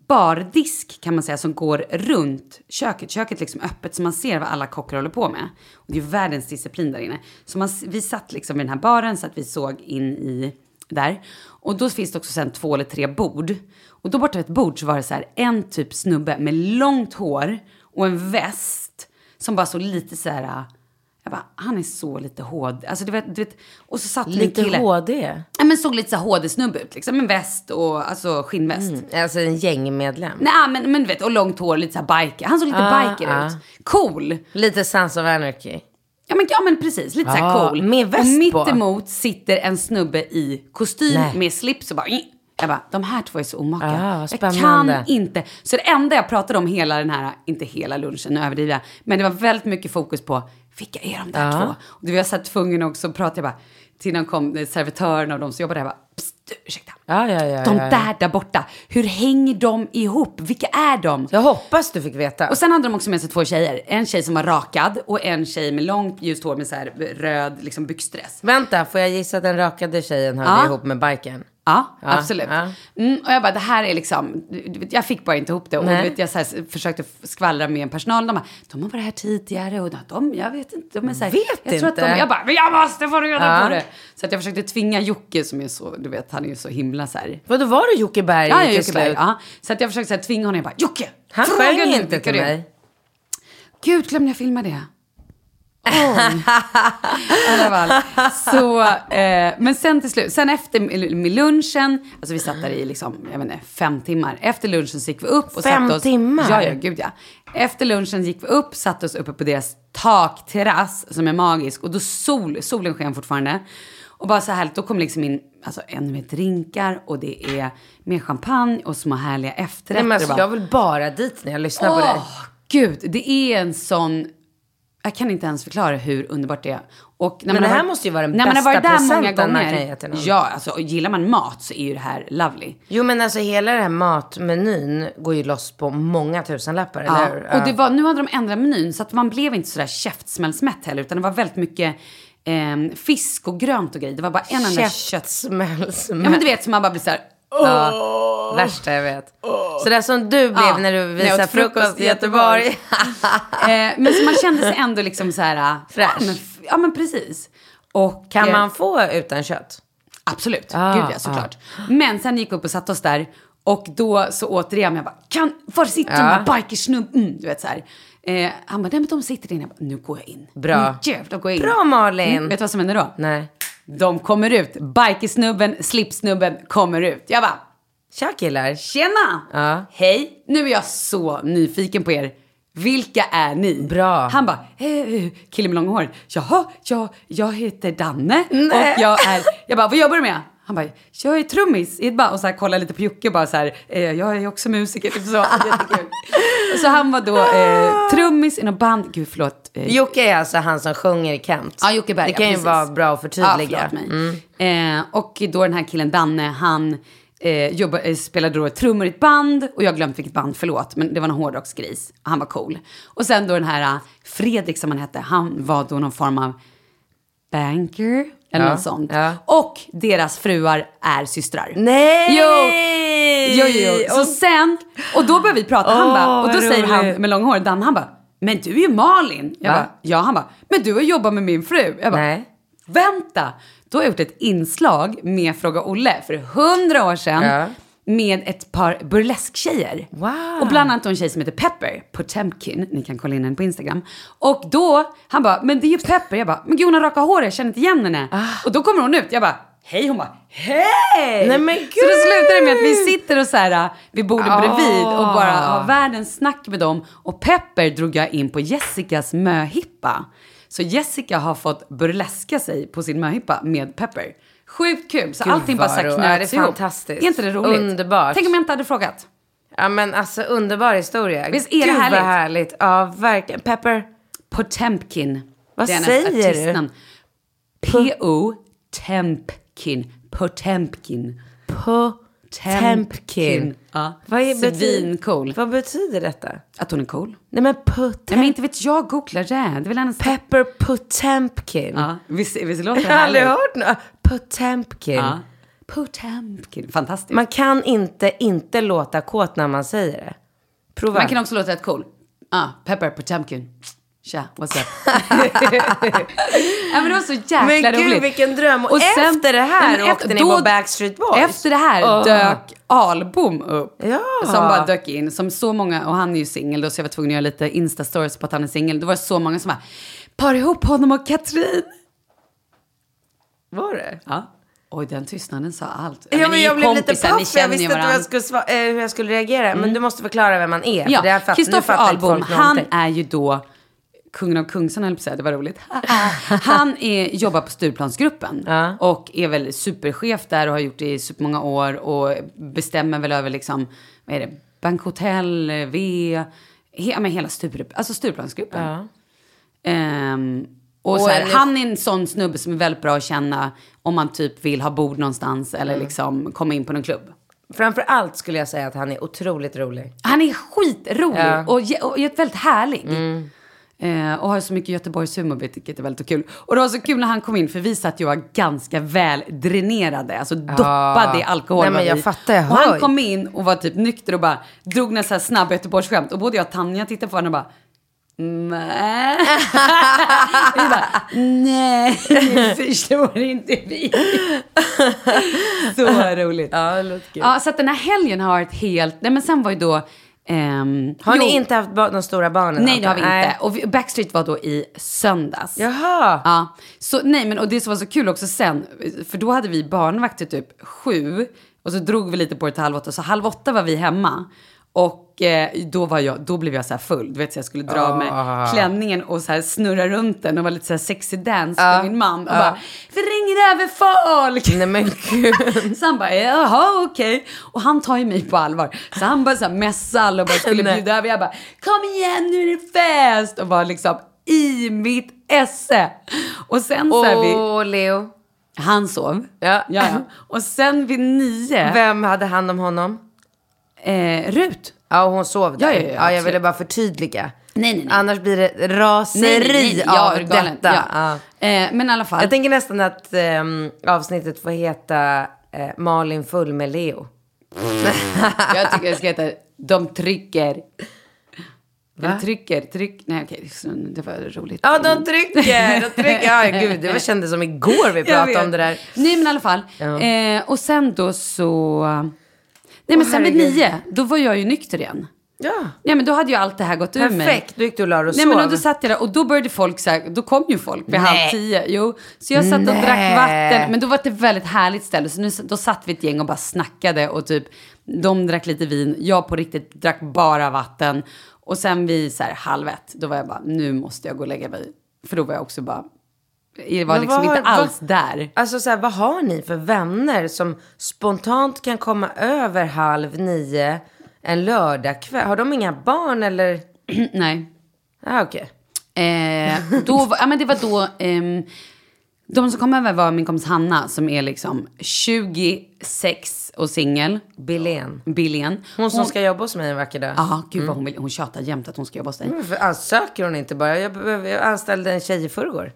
S1: bardisk kan man säga som går runt köket. Köket är liksom öppet så man ser vad alla kockar håller på med. Och det är ju världens disciplin där inne. Så man, vi satt liksom vid den här baren så att vi såg in i där. Och då finns det också sen två eller tre bord. Och då borta vid ett bord så var det så här en typ snubbe med långt hår och en väst som bara såg lite så här. Jag bara, han är så lite HD. Alltså du vet, du vet. Och så satt det en
S3: Lite
S1: kille.
S3: HD.
S1: Ja, men såg lite så här HD-snubbe ut liksom. En väst och alltså skinnväst.
S3: Alltså en gängmedlem.
S1: Nej ah, men, men du vet, och långt hår, lite såhär biker. Han såg lite
S3: Ah,
S1: biker
S3: ah.
S1: ut. Cool.
S3: Lite Sons of Anarchy.
S1: Ja men, ja men precis, lite såhär
S3: Ah,
S1: cool.
S3: med väst
S1: och
S3: på.
S1: mittemot sitter en snubbe i kostym
S3: Nej.
S1: med slips och bara... "Ih." Jag bara, de här två är så omaka.
S3: Ah, vad
S1: jag kan
S3: spännande.
S1: inte. Så det enda jag pratade om hela den här, inte hela lunchen, nu överdriver jag. Men det var väldigt mycket fokus på, vilka är de
S3: Ah.
S1: där två? Och då var jag så här tvungen också att prata, jag bara, till någon kom eh, servitören och de som jobbade där, jag bara, psst, du, ursäkta.
S3: Ja, ja, ja,
S1: De
S3: ja, ja.
S1: där där borta, hur hänger de ihop? Vilka är de?
S3: Jag hoppas du fick veta.
S1: Och sen hade de också med sig två tjejer. En tjej som var rakad och en tjej med långt ljust hår med så här röd liksom byxdress.
S3: Vänta, får jag gissa att den rakade tjejen hörde
S1: Ja.
S3: ihop med biken?
S1: Ja,
S3: Ja,
S1: absolut.
S3: ja.
S1: Mm, och jag bara, det här är liksom, du- du vet, jag fick bara inte ihop det. Och du
S3: Nej.
S1: vet, jag så här, försökte f- skvallra med personalen. De bara, de har varit här tidigare och de, jag vet inte. De är så här,
S3: Vet
S1: jag tror Att
S3: inte.
S1: de, jag bara, men jag måste få reda
S3: Ja.
S1: på det. Så att jag försökte tvinga Jocke som är så, du vet, han är ju så himla så här.
S3: Vadå, var det Jocke Berg
S1: Ja, ja,
S3: till
S1: Jocke
S3: slut?
S1: Berg, ja. Så att jag försökte så här, tvinga honom. Jag bara, Jocke!
S3: Han
S1: fråga
S3: sjöng
S1: nu
S3: inte
S1: vilka
S3: till
S1: det är."
S3: mig.
S1: Gud, glömde jag filma det? Oh. I alla fall. Så, eh, men sen till slut, sen efter m- med lunchen, alltså vi satt där i liksom, jag vet inte, fem timmar. Efter lunchen så gick vi upp och
S3: Fem
S1: satte oss.
S3: timmar?
S1: Ja, ja, gud ja. Efter lunchen gick vi upp, satte oss uppe på deras takterrass som är magisk och då sol, solen sken fortfarande. Och bara så härligt, då kom liksom in alltså, ännu mer drinkar och det är mer champagne och små härliga efterrätter.
S3: Nej, men
S1: Och
S3: alltså,
S1: bara-
S3: jag vill bara dit när jag lyssnar på
S1: Åh,
S3: dig.
S1: Gud, det är en sån... Jag kan inte ens förklara hur underbart det är. Och när
S3: Men det
S1: har
S3: här
S1: varit-
S3: måste ju vara den
S1: när man har
S3: bästa
S1: varit där många
S3: presenten man
S1: gånger,
S3: kan ge till någon.
S1: Ja, alltså och gillar man mat så är ju det här lovely.
S3: Jo men alltså hela den här matmenyn går ju loss på många tusenlappar,
S1: Ja.
S3: eller hur?
S1: Och det var, nu hade de ändrat menyn så att man blev inte sådär käftsmällsmätt heller utan det var väldigt mycket ehm, fisk och grönt och grejer. Det var bara en enda kött.
S3: Käftsmäll, smäll.
S1: Ja men du vet så man bara blir såhär,
S3: Ja, värsta jag vet. Så där som du blev
S1: Ja,
S3: när du
S1: "Ah, när jag
S3: visade
S1: åt frukost
S3: frukost i
S1: i
S3: Göteborg.
S1: eh, men så man kände sig ändå liksom såhär,
S3: Fräsch.
S1: Ja men, f- ja men precis. Och,
S3: kan
S1: eh,
S3: man få utan kött?
S1: Absolut,
S3: Ah,
S1: gud ja såklart. Men sen gick vi upp och satte oss där och då så återigen, jag bara, kan, var sitter de
S3: Ja.
S1: där bikersnubben? Mm, du vet så här. Eh, han bara, nej men de sitter inne. Jag bara, nu går jag in.
S3: Bra.
S1: Nu jävlar går jag in. Mm,
S3: Bra, Malin.
S1: vet du vad som händer då?
S3: Nej.
S1: De kommer ut, bikersnubben, slipsnubben kommer ut. Jag bara,
S3: Tja killar!
S1: Tjena!
S3: Ja.
S1: Hej! Nu är jag så nyfiken på er. Vilka är ni?
S3: Bra.
S1: Han bara, eh, killen med långa hår. Jaha, jag, jag heter Danne och jag är... Jag bara, vad jobbar du med? Han bara, jag är trummis. i ett band." Och så här kollar lite på Jocke och bara så här, eh, jag är ju också musiker. Typ så. Jättekul. så han var då
S3: Ah.
S1: eh, trummis i något band. Gud förlåt. Eh,
S3: Jocke är alltså han som sjunger i Kent.
S1: Ja, Jocke Berg.
S3: Det kan ju
S1: precis.
S3: vara bra att
S1: Ja,
S3: förtydliga. Mm.
S1: förlåt mig. Eh, och då den här killen Danne, han eh, jobba, eh, spelade då trummor i ett band. Och jag har glömt vilket band, förlåt. Men det var någon hårdrocksgris. Han var cool. Och sen då den här eh, Fredrik som han hette, han var då någon form av banker. Eller
S3: Ja,
S1: något sånt.
S3: ja.
S1: Och deras fruar är systrar.
S3: Nej!
S1: Jo, jo, jo. Så sen, och då börjar vi prata. Han
S3: Åh,
S1: bara, och då
S3: vad
S1: säger han
S3: roligt.
S1: med långa hår, Dan, han bara, men du är ju Malin. Jag
S3: Va?
S1: bara, ja, han bara, men du har jobbat med min fru. Jag bara,
S3: Nej.
S1: vänta. Då har jag gjort ett inslag med Fråga Olle för hundra år sedan.
S3: Ja.
S1: Med ett par burlesktjejer.
S3: Wow.
S1: Och bland annat en tjej som heter Pepper Potemkin. Ni kan kolla in henne på Instagram. Och då, han bara, men det är ju Pepper. Jag bara, men gud hon har raka hår, jag känner inte igen henne. Och då kommer hon ut, jag bara, hej. Hon bara, hej!
S3: Ah. Nej, men
S1: Så då slutar det med att vi
S3: gud!
S1: sitter och så här, äh, vid bordet bredvid och
S3: Ah.
S1: bara har världens snack med dem. Och Pepper drog jag in på Jessicas möhippa. Så Jessica har fått burleska sig på sin möhippa med Pepper. Sjukt kul! Så
S3: Gud,
S1: allting bara så här
S3: vad ro-
S1: knöts
S3: ja, det är
S1: ihop.
S3: fantastiskt.
S1: Är inte det roligt?
S3: Underbart.
S1: Tänk om jag inte hade frågat.
S3: Ja men alltså underbar historia.
S1: Visst är det
S3: Gud,
S1: härligt?
S3: Vad härligt? Ja verkligen. Pepper.
S1: Potemkin.
S3: Vad
S1: Det är hennes
S3: säger du?
S1: artistnamn. P-O-Tempkin. Potemkin.
S3: Potemkin.
S1: Ja.
S3: Vad är
S1: Svincool.
S3: Vad betyder detta?
S1: Att hon är cool.
S3: Nej men Potemkin.
S1: Nej men inte vet jag, googla det. Det vill hennes...
S3: Pepper Potemkin.
S1: Ja, visst, visst låter
S3: Jag
S1: det
S3: har aldrig
S1: härligt?
S3: hört något. Potemkin.
S1: Ja. Potemkin. Fantastiskt. Man,
S3: Man kan inte inte låta kåt när man säger det. Prova.
S1: kan också låta rätt cool. Ah, Pepper Potemkin. Tja, what's up? ja, men det var så jäkla
S3: Men gud,
S1: roligt.
S3: vilken dröm. Och efter det här
S1: Nej, men
S3: åkte ni på Backstreet Boys.
S1: Efter det här
S3: Åh.
S1: dök Ahlbom upp.
S3: Ja.
S1: Som bara dök in. Som så många, och han är ju singel då så jag var tvungen att göra lite instastories på att han är singel. Det var så många som bara, par ihop honom och Katrin.
S3: Var det?
S1: Ja. Oj, den tystnaden sa allt.
S3: Ja, men
S1: ni är
S3: jag
S1: ju
S3: blev
S1: kompisar,
S3: lite
S1: ni
S3: paff, jag
S1: känner
S3: visste
S1: ju
S3: inte vad
S1: varandra. Mm.
S3: jag skulle, sva- eh, hur jag skulle reagera. Men du måste förklara vem man är. för det här
S1: Ja,
S3: fatt- nu
S1: Kristoffer
S3: fattar inte
S1: Ahlbom,
S3: folk
S1: han
S3: någonting.
S1: är ju då kungen av Kungsan, höll jag på att säga, det var roligt. Han är, jobbar på Stureplansgruppen och är väl superchef där och har gjort det i supermånga år och bestämmer väl över liksom, vad är det, bankhotell, V, he, ja, men hela Sture, alltså Stureplansgruppen. Ehm, och så här,
S3: en-
S1: han är en sån snubbe som är väldigt bra att känna om man typ vill ha bord någonstans eller
S3: Mm.
S1: liksom komma in på någon klubb.
S3: Framför allt skulle jag säga att han är otroligt rolig.
S1: Han är skitrolig
S3: Ja. Mm.
S1: och, ge- och är väldigt härlig. Eh, och har så mycket Göteborgshumor, vilket är väldigt kul. Och det var så kul när han kom in, för vi satt ju och var ganska väl dränerade, alltså doppade i alkohol.
S3: Nej, men
S1: var
S3: jag
S1: vi.
S3: fattar, jag
S1: och
S3: hör
S1: han
S3: ju.
S1: kom in och var typ nykter och bara drog några så här snabba Göteborgsskämt. Och både jag och Tanja tittade på honom och bara, nej. vi bara, nej, ni förstår inte vi. så roligt.
S3: Ja, det låter kul.
S1: Ja, så att den här helgen har varit helt... Nej, men sen var ju då... ehm,
S3: Har
S1: jo,
S3: ni inte haft ba- de stora barnen?
S1: Nej, det har vi
S3: Nej.
S1: inte. Och vi- Backstreet var då i söndags.
S3: Jaha.
S1: Ja, så nej men och det som var så kul också sen, för då hade vi barnvakt till typ sju och så drog vi lite på det till halv åtta, så halv åtta var vi hemma. Och eh, då, var jag, då blev jag så här full, du vet så jag skulle dra med
S3: Ah.
S1: klänningen och så här snurra runt den och vara lite så här sexy dance
S3: Ah.
S1: med min man och bara “vi ringer över folk”.
S3: Nej men gud.
S1: Så han bara, jaha okej. Och han tar ju mig på allvar. Så han bara så här messade alla och bara skulle
S3: Nej.
S1: bjuda över. Jag bara, kom igen nu är det fest! Och var liksom i mitt esse. Och sen så här vid,
S3: Åh, Leo.
S1: han sov.
S3: Ja.
S1: Ja, ja. Och sen vid nio,
S3: Vem hade hand om honom?
S1: eh, Rut.
S3: Ja, hon sov där.
S1: Ja, ja, ja,
S3: jag
S1: absolut.
S3: ville bara förtydliga.
S1: Nej, nej, nej.
S3: Annars blir det raseri
S1: ja,
S3: av
S1: galen.
S3: detta.
S1: Ja.
S3: Ja.
S1: Eh, men i alla fall.
S3: Jag tänker nästan att ehm, avsnittet får heta eh, Malin full med Leo.
S1: Jag tycker det ska heta De trycker. De trycker, tryck. Nej okej, det var roligt.
S3: Ja, de trycker! De trycker. Ja, gud, det var- kändes som igår vi
S1: Jag
S3: pratade om
S1: vet.
S3: det där.
S1: Nej men i alla fall.
S3: Ja.
S1: Eh, och sen då så... Nej men
S3: Åh,
S1: sen vid
S3: herregud.
S1: nio, då var jag ju nykter igen.
S3: Ja.
S1: Ja, men då hade ju allt det här gått ur mig.
S3: Perfekt, då gick du och la dig och
S1: Nej, men och
S3: sov.
S1: då satt jag där och då började folk så här, då kom ju folk vid
S3: Nej.
S1: halv tio. Jo, så jag satt och
S3: Nej.
S1: drack vatten. Men då var det ett väldigt härligt ställe. Så nu, då satt vi ett gäng och bara snackade och typ de drack lite vin, jag på riktigt drack bara vatten. Och sen vid så här halv ett, då var jag bara, nu måste jag gå och lägga mig. För då var jag också bara, det var
S3: Men
S1: liksom
S3: vad-
S1: inte alls
S3: vad-
S1: där.
S3: Alltså så här, vad har ni för vänner som spontant kan komma över halv nio en lördagkväll? Har de inga barn eller?
S1: Nej.
S3: Ja, ah, okej.
S1: Eh, då, var- ja, men det var då... ehm, de som kom över var min kompis Hanna som är liksom 26 och singel.
S3: Billén.
S1: Billén.
S3: Hon som Mm. ska jobba hos mig en vacker dag.
S1: Ja, gud vad hon vill. Hon tjatar jämt att hon ska jobba hos dig.
S3: Men varför Söker hon inte bara? Jag, behöver- jag anställde en tjej i förrgår.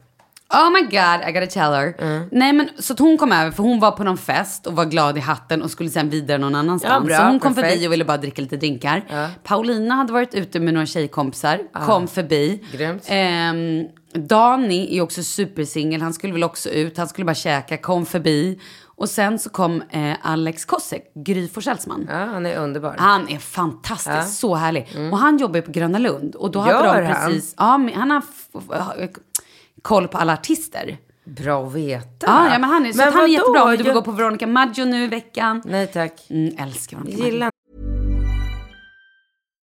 S1: Oh my god, I gotta tell her.
S3: Mm.
S1: Nej men så att hon kom över för hon var på någon fest och var glad i hatten och skulle sen vidare någon annanstans.
S3: Ja, bra,
S1: så hon kom
S3: perfekt.
S1: förbi och ville bara dricka lite drinkar. Paulina hade varit ute med några tjejkompisar, kom förbi.
S3: Grymt.
S1: Ehm, Dani är också supersingel, han skulle väl också ut, han skulle bara käka, kom förbi. Och sen så kom eh, Alex Kosek, Gry Forssells man.
S3: Ja, han är underbar.
S1: Han är fantastisk, så härlig. Och han jobbar ju på Gröna Lund. Och då hade
S3: Mm. Gör
S1: de
S3: han?
S1: precis, ja, men han har f- f- koll på alla artister.
S3: Bra att veta.
S1: Ja, ja men han är, så att han är
S3: vadå?
S1: jättebra om du vill
S3: Jag-
S1: gå på Veronica Maggio nu i veckan.
S3: Nej tack.
S1: Mm, älskar Veronica Maggio.
S3: Gillar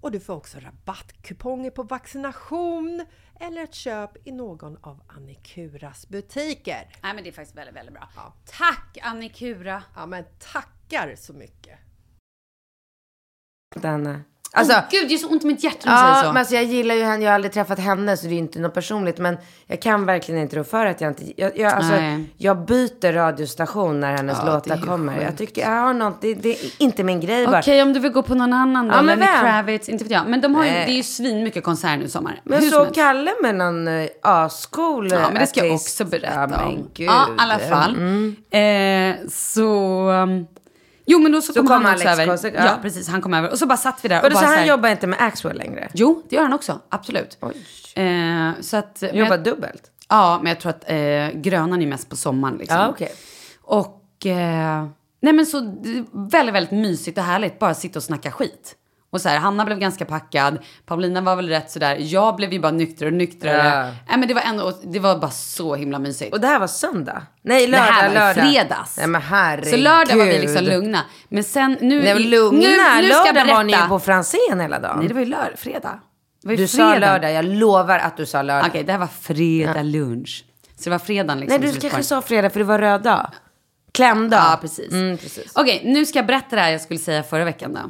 S2: Och du får också rabattkuponger på vaccination eller ett köp i någon av Annikuras butiker.
S1: Nej men det är faktiskt väldigt, väldigt bra. Tack Annikura!
S2: Ja men tackar så mycket!
S3: Anna. Alltså,
S1: Gud, det är så ont i mitt hjärta när du
S3: Ja,
S1: säger så.
S3: men alltså jag gillar ju henne. Jag har aldrig träffat henne så det är ju inte något personligt. Men jag kan verkligen inte rå för att jag inte... Jag, jag, alltså,
S1: Nej.
S3: jag byter radiostation när hennes
S1: Ja,
S3: låtar
S1: det är ju
S3: kommer. Jag
S1: sjukt.
S3: tycker jag har något, det, det är inte min grej bara.
S1: Okej, om du vill gå på någon annan då.
S3: Ja, men
S1: Lenny
S3: vem?
S1: Kravitz, inte vet jag. Men de har ju, det
S3: Nej.
S1: är ju svin mycket konserter nu i sommar.
S3: Men
S1: Hur
S3: jag
S1: som
S3: såg
S1: helst.
S3: Kalle med någon eh, ascool
S1: Ja, men det ska jag
S3: artist.
S1: också berätta
S3: ja, men
S1: om.
S3: Gud. Mm.
S1: Ja, i alla fall. Eh, så... um, Jo, men då så,
S3: Så
S1: kom,
S3: kom
S1: han
S3: Alex
S1: också över.
S3: Kosek,
S1: ja.
S3: ja.
S1: precis. Han kom över. Och så bara satt vi där och,
S3: Vadå,
S1: bara
S3: så han
S1: här-
S3: jobbar inte med Axwell längre?
S1: Jo, det gör han också. Absolut.
S3: Oj.
S1: Eh, så att... men
S3: Jobbar
S1: jag-
S3: dubbelt?
S1: Ja, men jag tror att eh, grönan är mest på sommaren. Liksom.
S3: Ja, okej.
S1: Och... Eh, nej, men så det är väldigt, väldigt mysigt och härligt. Bara sitta och snacka skit. Och så här, Hanna blev ganska packad. Paulina var väl rätt sådär. Jag blev ju bara nyktrare och nyktrare.
S3: Ja.
S1: Nej, men det var ändå... Det var bara så himla mysigt.
S3: Och det här var söndag? Nej, lördag.
S1: det här var i
S3: lördag.
S1: fredags.
S3: Nej, men herregud.
S1: så lördag var vi liksom lugna. Men sen nu...
S3: Nej, men
S1: i-
S3: lugna.
S1: Nu, nu ska jag
S3: lördag var ni ju
S1: berätta.
S3: på Franzén hela dagen.
S1: Nej, det var ju lördag. Fredag. Det var ju
S3: Du
S1: fredag.
S3: sa lördag, jag lovar att du sa lördag.
S1: Okej, det här var fredag lunch. Så det var fredagen
S3: Nej,
S1: liksom.
S3: du
S1: som vi
S3: kanske
S1: sparade.
S3: sa fredag för det var röd dag. Klämdag.
S1: Ja, precis.
S3: Mm, precis.
S1: Okej, nu ska jag berätta det här jag skulle säga förra veckan då.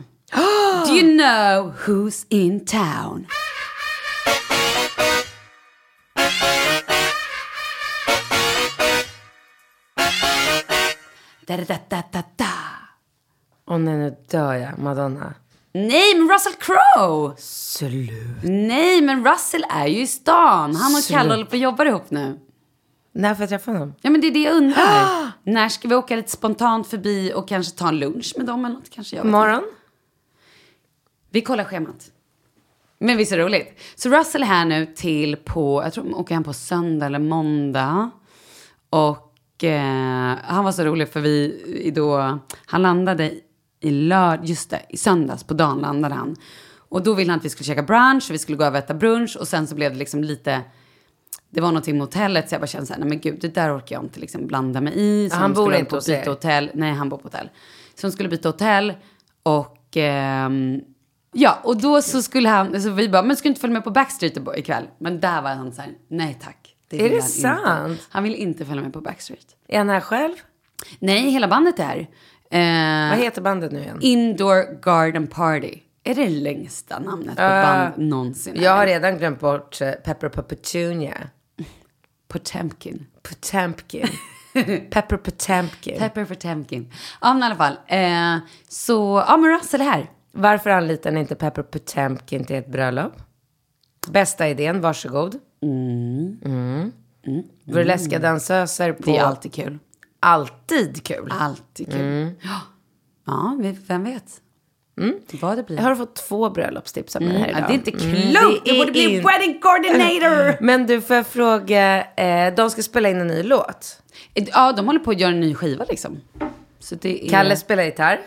S1: Do you know who's in town? Da, da, da, da, da, da.
S3: Åh nej, nu dör jag. Madonna.
S1: Nej, men Russell Crowe!
S3: Slut.
S1: Nej, men Russell är ju i stan. Han och
S3: Slut.
S1: Kalle håller på och jobbar ihop nu.
S3: När får jag träffa honom?
S1: Ja, men det är det jag undrar. När ska vi åka lite spontant förbi och kanske ta en lunch med dem eller något? Kanske jag vet inte.
S3: Imorgon?
S1: Vi kollar schemat. Men visst är det roligt? Så Russell är här nu till på, jag tror åker han på söndag eller måndag. Och eh, han var så rolig för vi i då, han landade i lörd, just det, i söndags på dagen landade han. Och då ville han att vi skulle käka brunch, och vi skulle gå över och äta brunch och sen så blev det liksom lite, det var någonting med hotellet så jag bara kände såhär, nej men gud det där orkar jag inte liksom blanda mig i. Så
S3: han
S1: de
S3: bor
S1: skulle
S3: inte
S1: på
S3: hos er?
S1: byta hotell. Nej, han bor på hotell. Så de skulle byta hotell och ehm, ja, och då så skulle han, så vi bara, men ska du inte följa med på Backstreet i- ikväll? Men där var han såhär, nej tack.
S3: Är
S1: vill
S3: det
S1: han
S3: sant?
S1: Inte. Han vill inte följa med på Backstreet.
S3: Är han här själv?
S1: Nej, hela bandet är här. Eh,
S3: Vad heter bandet nu igen?
S1: Indoor Garden Party. Är det längsta namnet på
S3: Eh,
S1: band någonsin?
S3: Jag har redan glömt bort eh, Pepper Petunia.
S1: Potemkin.
S3: Potemkin. Pepper Potemkin.
S1: Pepper Potemkin. Ja, men i alla fall. Eh, så, ja men Russell är här.
S3: Varför anlitar ni inte Pepper Potemkin till ett bröllop? Bästa idén, varsågod. Mm. Mm. Burleska dansöser på...
S1: Det är alltid kul.
S3: alltid kul.
S1: Alltid kul. Ja. Ja, vi- vem vet? Vad det blir.
S3: Jag har fått två bröllopstips av mig här
S1: Mm.
S3: idag. Mm.
S1: ja, det är inte klokt.
S3: det
S1: du
S3: är
S1: borde bli
S3: in-
S1: wedding coordinator.
S3: Men du, får jag fråga, eh, de ska spela in en ny låt.
S1: Ja, de håller på att göra en ny skiva liksom. Så det är...
S3: Kalle spelar gitarr.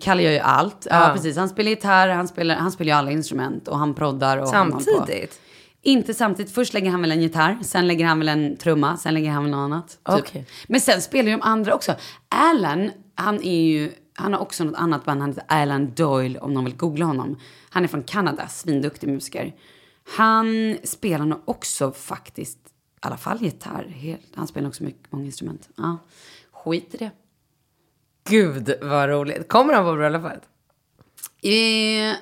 S1: Kalle gör ju allt. Ja,
S3: Ja.
S1: precis. Han spelar gitarr, han spelar, han spelar ju alla instrument och han proddar. Och han håller på.
S3: Samtidigt?
S1: Inte samtidigt. Först lägger han väl en gitarr, sen lägger han väl en trumma, sen lägger han väl något annat. typ.
S3: Okej.
S1: Men sen spelar ju de andra också. Alan, han är ju, han har också något annat band, han heter Alan Doyle om någon vill googla honom. Han är från Kanada, svinduktig musiker. Han spelar nog också faktiskt, i alla fall gitarr. Helt, han spelar också mycket, många instrument. Ja. Skit i det.
S3: Gud vad roligt. Kommer de på bröllopet?
S1: Eh,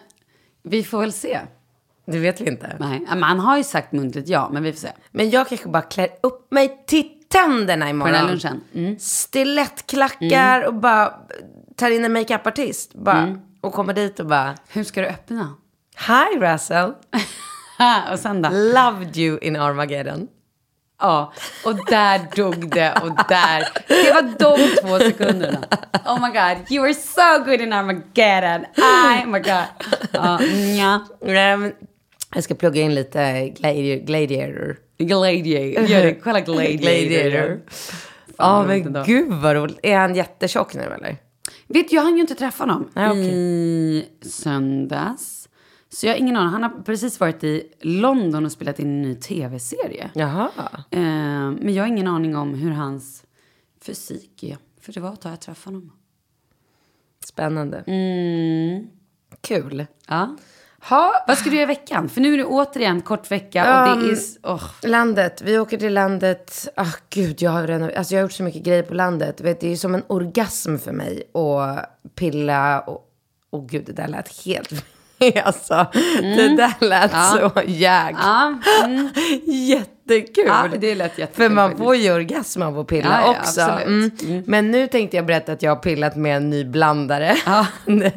S1: vi får väl se.
S3: Det vet vi inte.
S1: Nej, men han har ju sagt muntligt ja, men vi får se.
S3: Men jag kanske bara klär upp mig, titta tänderna
S1: På
S3: imorgon.
S1: den här lunchen. Mm.
S3: Stilettklackar och bara tar in en makeupartist. Bara,
S1: Mm.
S3: Och kommer dit och bara,
S1: Hur ska du öppna?
S3: hi Russell,
S1: Ah, och sen då?
S3: loved you in Armageddon.
S1: Ja, och där dog det och där. Det var de två sekunderna. Oh my god, you were so good in Armageddon. I, oh my god. Ja, nja.
S3: Nej, men jag ska plugga in lite gladiator. gladiator.
S1: Gladiator. Gör det, kolla Gladiator.
S3: Gladiator. Ja,
S1: Fan, vad roligt
S3: men
S1: ändå.
S3: gud vad roligt. Är han jättetjock nu eller?
S1: Vet du, jag hann ju inte träffa honom
S3: Nej, okej.
S1: i söndags. Så jag har ingen aning. Han har precis varit i London och spelat in en ny tv-serie.
S3: Jaha.
S1: Eh, men jag har ingen aning om hur hans fysik är. För det var ett tag jag träffade honom.
S3: Spännande.
S1: Mm.
S3: Kul.
S1: Ja.
S3: Ha,
S1: Vad ska du göra i veckan? För nu är det återigen kort vecka och det
S3: Um,
S1: är... s- åh.
S3: landet. Vi åker till landet. Ah, gud, jag har, redan, alltså, jag har gjort så mycket grejer på landet. Du Vet, det är ju som en orgasm för mig att pilla och... Åh gud, det där lät helt... alltså, det där lät så jäkligt.
S1: Mm. Ja, mm.
S3: Jättekul.
S1: Ja, det lät jättekul
S3: För man
S1: faktiskt.
S3: får ju orgasm av att pilla
S1: Ja, ja,
S3: också.
S1: absolut.
S3: Mm. Men nu tänkte jag berätta att jag har pillat med en ny blandare.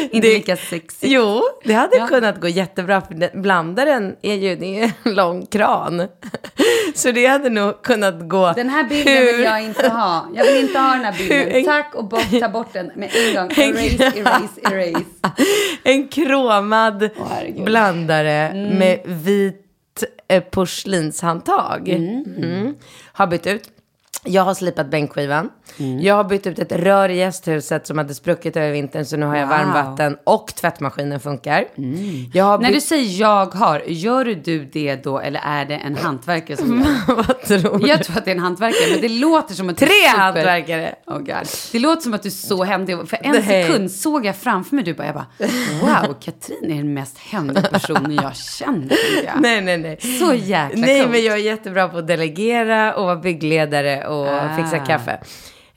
S3: Inte
S1: Inte lika sexigt.
S3: Jo, det hade
S1: Ja.
S3: kunnat gå jättebra för den- blandaren är ju, det är ju en lång kran. Så det hade nog kunnat gå
S1: Den här bilden vill jag inte ha. Jag vill inte ha den här bilden.
S3: Hur-
S1: Tack och bort, ta bort den med en gång. Erase, erase, erase.
S3: en kromad
S1: Åh, herregud. Mm.
S3: blandare med vit eh, porslinshandtag. Mm. Har bytt ut. Jag har slipat bänkskivan.
S1: Mm.
S3: Jag har bytt ut ett rör i gästhuset som hade spruckit över vintern så nu har jag
S1: Wow. Mm.
S3: varmvatten och tvättmaskinen funkar. Jag har
S1: När du
S3: bytt...
S1: säger jag har, gör du det då eller är det en hantverkare som gör det?
S3: Vad tror du?
S1: Jag tror att det är en hantverkare, men det låter som att du
S3: Tre
S1: är super-
S3: hantverkare!
S1: Oh God. Det låter som att du är så händig. För en
S3: Nej.
S1: sekund såg jag framför mig du bara, jag bara, wow, Katrin är den mest händiga personen jag känner. tänkte jag.
S3: Nej, nej, nej.
S1: Så jäkla
S3: Nej,
S1: coolt.
S3: men jag är jättebra på att delegera och vara byggledare och
S1: Ah.
S3: fixa kaffe.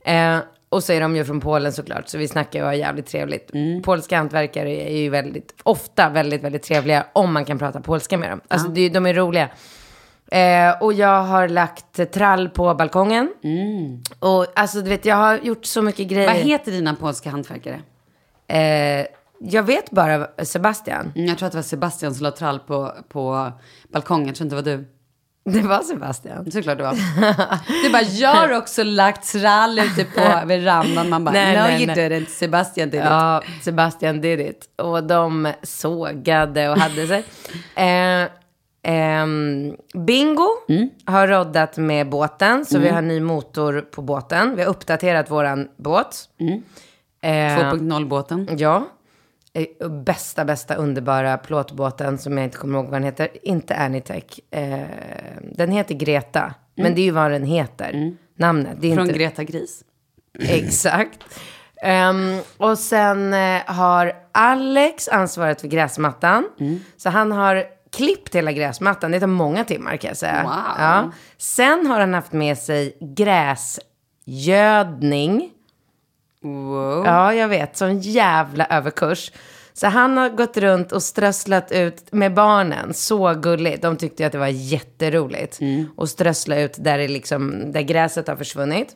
S3: Eh, och så är de ju från Polen såklart, så vi snackar ju och har jävligt trevligt.
S1: Mm.
S3: Polska hantverkare är ju väldigt, ofta väldigt, väldigt trevliga om man kan prata polska med dem.
S1: Ah.
S3: Alltså, det, är ju- de är roliga. Eh, och jag har lagt trall på balkongen. Och alltså, du vet, jag har gjort så mycket grejer.
S1: Mm. Vad heter dina polska hantverkare?
S3: eh, jag vet bara Sebastian.
S1: Mm, Jag tror att det var Sebastian som la trall på, på balkongen, jag tror inte det var du. Mm.
S3: Det var Sebastian.
S1: Såklart det var. Du bara, jag har också lagt trall ute på verandan. Man bara,
S3: Nej,
S1: no
S3: nej,
S1: you
S3: nej.
S1: didn't, Sebastian did it.
S3: Ja, Sebastian did it. Och de sågade och hade sig. eh, ehm, bingo har roddat med båten, så vi har ny motor på båten. Vi har uppdaterat våran båt. Eh,
S1: 2.0-båten.
S3: ja. Eh, Bästa, bästa underbara plåtbåten som jag inte kommer ihåg vad den heter. Inte Anitech. Eh, den heter Greta. Men det är ju vad den heter. Namnet. Det är
S1: Från
S3: inte...
S1: Greta Gris.
S3: Exakt. Ehm, och sen eh, har Alex ansvaret för gräsmattan. Så han har klippt hela gräsmattan. Det tar många timmar kan jag säga.
S1: Wow.
S3: Ja. Sen har han haft med sig gräsgödning.
S1: Wow.
S3: Ja, jag vet. Sån jävla överkurs. Så han har gått runt och strösslat ut med barnen. Så gulligt. De tyckte ju att det var jätteroligt. Och strössla ut där, det liksom, där gräset har försvunnit.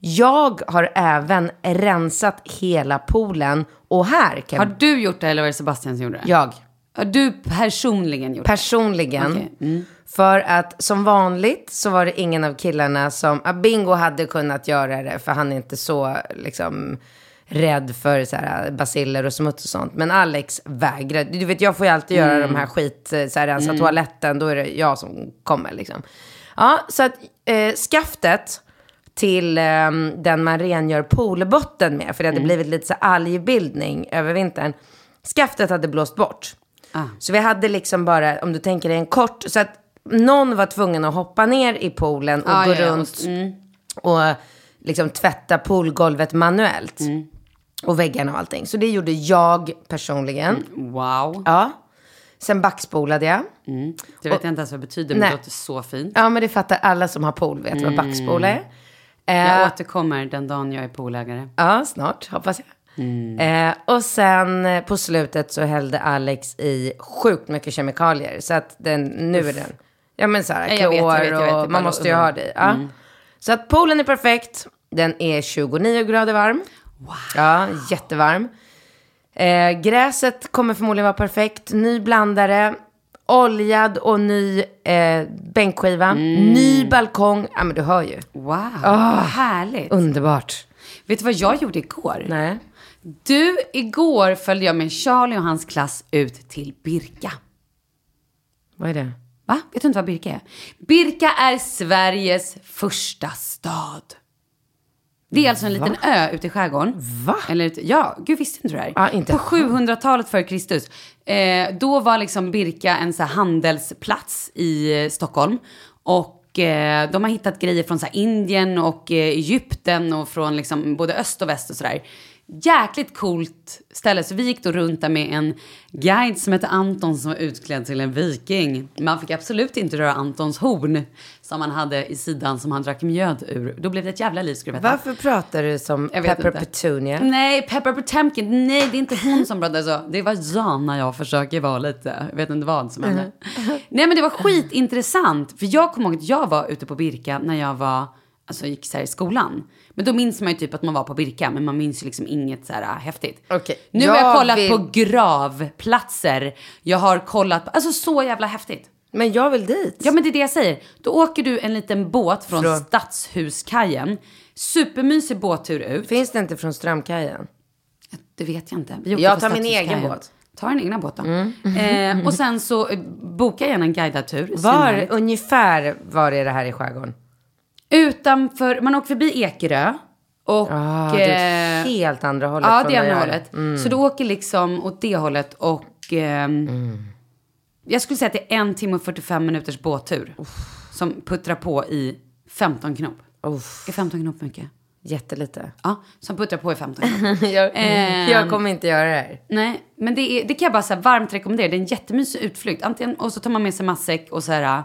S3: Jag har även rensat hela poolen. Och här kan
S1: Har du gjort det eller var det Sebastian som gjorde det?
S3: jag
S1: Har du personligen gjort
S3: personligen.
S1: Okej, Mm.
S3: För att som vanligt så var det ingen av killarna som, ah, Bingo hade kunnat göra det för han är inte så liksom rädd för så här, ah, basiller och smuts och sånt. Men Alex vägrade. Du vet jag får ju alltid göra
S1: Mm.
S3: de här skit, eh, så här, rensa toaletten, då är det jag som kommer liksom. Ja, så att eh, skaftet till eh, den man rengör poolbotten med, för det hade
S1: Mm.
S3: blivit lite så här algbildning över vintern. Skaftet hade blåst bort.
S1: Ah.
S3: Så vi hade liksom bara, om du tänker dig en kort, så att någon var tvungen att hoppa ner i poolen och
S1: Ah,
S3: gå
S1: ja, ja, och-
S3: runt och liksom tvätta poolgolvet manuellt.
S1: Mm.
S3: Och väggarna och allting. Så det gjorde jag personligen.
S1: det? Wow.
S3: Ja. Sen backspolade jag.
S1: Mm. Det vet jag inte ens vad det betyder, men
S3: Mm. Nej.
S1: det låter så fint.
S3: Ja men det fattar alla som har pool vet vad backspola är.
S1: Mm. Jag
S3: Eh,
S1: återkommer den dagen jag är poolägare.
S3: ja snart hoppas jag.
S1: Mm.
S3: Eh, och sen eh, på slutet så hällde Alex i sjukt mycket kemikalier. Så att den, nu är den. Ja men så här,
S1: Ja, jag vet, jag vet, jag vet,
S3: klor
S1: jag
S3: och
S1: bara Mm.
S3: man måste ju
S1: undrar.
S3: ha det. Ja. Så att poolen är perfekt. Den är 29 grader varm. Ja, jättevarm. Eh, gräset kommer förmodligen vara perfekt. Ny blandare, oljad och ny eh, bänkskiva.
S1: Mm.
S3: Ny balkong. Ja, men du hör ju.
S1: Wow,
S3: Ah.
S1: härligt.
S3: Underbart.
S1: Vet du vad jag gjorde igår?
S3: Nej.
S1: Du, igår följde jag med Charlie och hans klass ut till Birka.
S3: Vad är det?
S1: Va? Vet du inte vad Birka är? Birka är Sveriges första stad. Det är alltså en liten ö ute i skärgården.
S3: Va?
S1: Eller, ute- ja, gud visste inte du det här?
S3: Ja, inte.
S1: På 700-talet före Kristus. Eh, då var liksom Birka en så här handelsplats i eh, Stockholm. Och eh, de har hittat grejer från så här Indien och eh, Egypten och från liksom både öst och väst och sådär. Jäkligt coolt ställe. Så vi gick då runt där med en guide som hette Anton som var utklädd till en viking. Man fick absolut inte röra Antons horn som han hade i sidan som han drack mjöd ur. Då blev det ett jävla liv skulle du veta.
S3: Varför pratar du som
S1: Jag vet
S3: Pepper
S1: inte. Mm.
S3: Petunia?
S1: Nej, Pepper Potemkin. Nej, det är inte hon som pratade så. Det var Jana jag försöker vara lite. Jag vet inte vad som hände.
S3: Uh-huh.
S1: Nej, men det var skitintressant. För jag kommer ihåg att jag var ute på Birka när jag var, alltså gick så här i skolan. Men då minns man ju typ att man var på Birka, men man minns ju liksom inget så här äh, häftigt.
S3: Okej.
S1: Nu har jag
S3: Jag
S1: kollat
S3: vill-
S1: på gravplatser. Jag har kollat på, alltså så jävla häftigt.
S3: Men jag vill dit.
S1: Ja men det är det jag säger. Då åker du en liten båt från,
S3: Från-
S1: Stadshuskajen. Supermysig båttur ut.
S3: Finns det inte från Strömkajen?
S1: Det vet jag inte. Vi åkte
S3: Jag
S1: på
S3: tar min
S1: Stadshuskajen.
S3: egen båt. Mm.
S1: Ta din egna båt då. Eh, och sen så eh, boka gärna en guidad tur.
S3: Var
S1: Svinhärligt.
S3: ungefär var är det här i skärgården?
S1: Utanför, man åker förbi Ekerö. Och...
S3: Ah, det är
S1: eh,
S3: åt helt andra hållet.
S1: Ja,
S3: från
S1: det är
S3: där Mm.
S1: andra
S3: jag
S1: hållet. Så du åker liksom åt det hållet och... ehm,
S3: Mm.
S1: Jag skulle säga att det är en timme och 45 minuters båttur. Som puttrar på i 15 knop. Är 15 knop mycket?
S3: Jättelite.
S1: Ja, som puttrar på i 15 knop.
S3: jag,
S1: Ehm.
S3: jag kommer inte göra det här.
S1: Nej, men det, är, det kan jag bara så här varmt rekommendera. Det är en jättemysig utflykt. Antingen, och så tar man med sig matsäck och så här... äh,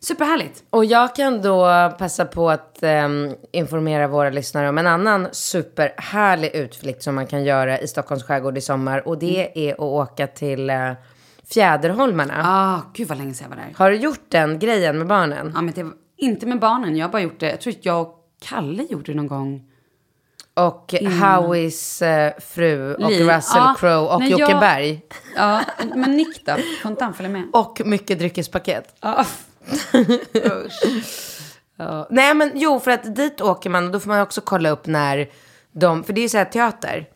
S1: Superhärligt.
S3: Och jag kan då passa på att ehm, informera våra lyssnare om en annan superhärlig utflykt som man kan göra i Stockholms skärgård i sommar. Och
S1: Mm.
S3: det är att åka till eh, Fjäderholmarna.
S1: Ah, gud vad länge sedan jag var där.
S3: Har du gjort den grejen med barnen?
S1: Ja, men det var inte med barnen. Jag har bara gjort det. Jag tror att jag och Kalle gjorde det någon gång.
S3: Och Howies eh, fru och
S1: Mm. Li-
S3: Russell
S1: ja,
S3: Crowe och
S1: nej,
S3: Jocke
S1: jag-
S3: Berg.
S1: Ja, men Nick då? Får inte han följa med?
S3: Och mycket dryckespaket.
S1: Ja.
S3: Ja. Nej men jo, för att dit åker man och då får man också kolla upp när de, för det är ju så här teater.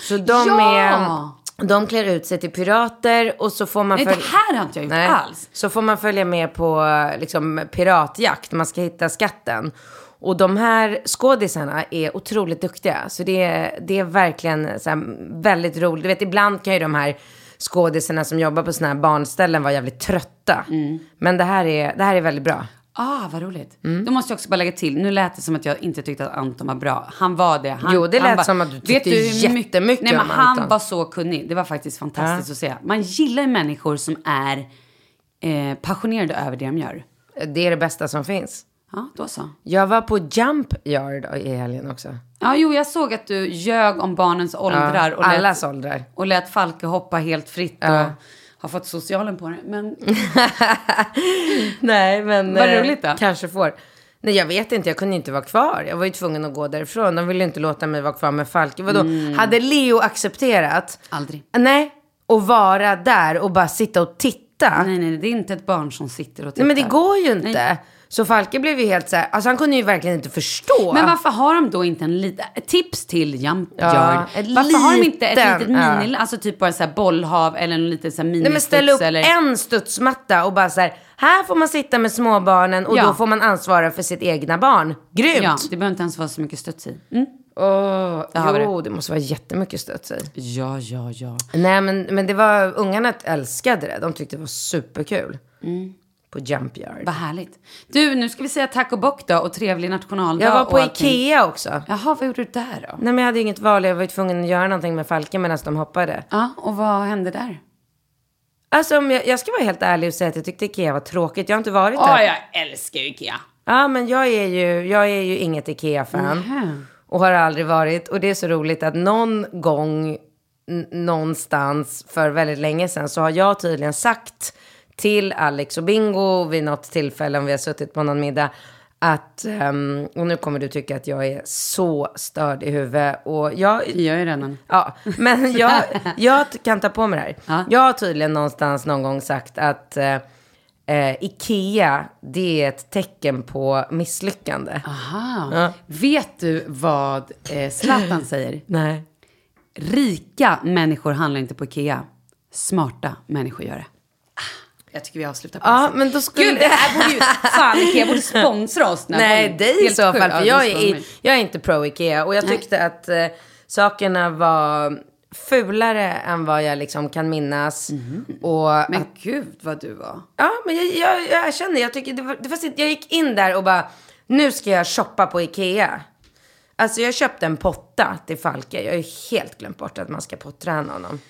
S3: Så de
S1: Ja!
S3: är, de klär ut sig till pirater och så får man
S1: Nej, det
S3: följ-
S1: här har inte jag gjort
S3: Nej.
S1: alls.
S3: Så får man följa med på liksom piratjakt, man ska hitta skatten. Och de här skådisarna är otroligt duktiga. Så det är, det är verkligen så här, väldigt roligt. Du vet, ibland kan ju de här skådisarna som jobbar på sådana här barnställen vara jävligt trötta.
S1: Mm.
S3: Men det här, är, det här är väldigt bra.
S1: Ah, vad roligt.
S3: Mm.
S1: Då måste jag också bara lägga till. Nu lät det som att jag inte tyckte att Anton var bra. Han var det. Han,
S3: Jo, det
S1: han
S3: lät
S1: var-
S3: som att du
S1: Vet
S3: tyckte
S1: hur mycket-
S3: jättemycket
S1: Nej, men
S3: om
S1: han
S3: Anton.
S1: var så kunnig. Det var faktiskt fantastiskt att se. Man gillar ju människor som är eh, passionerade över det de gör.
S3: Det är det bästa som finns.
S1: Ja, då så.
S3: Jag var på Jump Yard i helgen också.
S1: Ja, jo, jag såg att du ljög om barnens åldrar. och lät,
S3: Allas åldrar.
S1: Och lät Falke hoppa helt fritt och har fått socialen på det. Men
S3: Nej, men...
S1: Vad
S3: eh,
S1: roligt då.
S3: Kanske får. Nej, jag vet inte. Jag kunde inte vara kvar. Jag var ju tvungen att gå därifrån. De ville inte låta mig vara kvar med Falke. Vadå? Hade Leo accepterat?
S1: aldrig.
S3: Nej. Och vara där och bara sitta och titta? Nej,
S1: Nej, nej, det är inte ett barn som sitter och tittar.
S3: men det går ju inte. Så Falke blev ju helt så här... Alltså han kunde ju verkligen inte förstå.
S1: Men varför har de då inte en liten, ett tips till jump
S3: Ja,
S1: yard?
S3: ett
S1: varför har de inte
S3: liten,
S1: ett litet
S3: ja.
S1: mini, alltså typ bara så här bollhav eller en liten så här
S3: Nej men ställ upp
S1: ministuds eller?
S3: en studsmatta och bara så här, här får man sitta med småbarnen och
S1: Ja.
S3: då får man ansvara för sitt egna barn. Grymt!
S1: Ja, det behöver inte ens vara så mycket studs i. Mm.
S3: Åh,
S1: har vi det.
S3: jo, det måste vara jättemycket stöt i.
S1: Ja, ja, ja.
S3: Nej men, men det var, ungarna älskade det. De tyckte det var superkul. På Jump Yard.
S1: Vad härligt. Du, nu ska vi säga tack och bock då och trevlig nationaldag
S3: Jag var på
S1: och allting.
S3: Ikea också.
S1: Jaha, vad gjorde du där då?
S3: Nej men jag hade inget val, jag var ju tvungen att göra någonting med Falken medan de hoppade.
S1: Ja, och vad hände där?
S3: Alltså om jag, jag ska vara helt ärlig och säga att jag tyckte Ikea var tråkigt. Jag har inte varit
S1: Åh,
S3: där.
S1: jag älskar ju Ikea.
S3: Ja men jag är ju, jag är ju inget Ikea-fan.
S1: Mm.
S3: Och har aldrig varit. Och det är så roligt att någon gång n- någonstans för väldigt länge sedan så har jag tydligen sagt till Alex och Bingo vid något tillfälle om vi har suttit på någon middag Att, ehm, och nu kommer du tycka att jag är så störd i huvudet. Och jag,
S1: Det gör ju redan.
S3: Ja, men jag, jag t- kan ta på mig det här. Jag har tydligen någonstans någon gång sagt att eh, eh, Ikea, det är ett tecken på misslyckande.
S1: Aha. Vet du vad eh, Zlatan säger?
S3: Nej.
S1: Rika människor handlar inte på Ikea. Smarta människor gör det. Ah, Jag tycker vi avslutar på det
S3: Ja,
S1: sättet.
S3: men då skulle...
S1: Gud, det här borde ju... Fan, Ikea borde sponsra oss. den här
S3: Nej,
S1: podden.
S3: dig i
S1: Helt
S3: så
S1: sjukt.
S3: fall. För
S1: Ja,
S3: jag,
S1: det sponsrar
S3: är,
S1: mig.
S3: jag är inte pro Ikea. Och jag tyckte att eh, sakerna var fulare än vad jag liksom kan minnas. Och
S1: Mm. Men gud vad du var.
S3: Ja, men jag, jag, jag erkänner. Jag, tycker, det var, det var, sitt- jag gick in där och bara, nu ska jag shoppa på Ikea. Alltså jag köpte en potta till Falke. Jag har ju helt glömt bort att man ska potträna honom.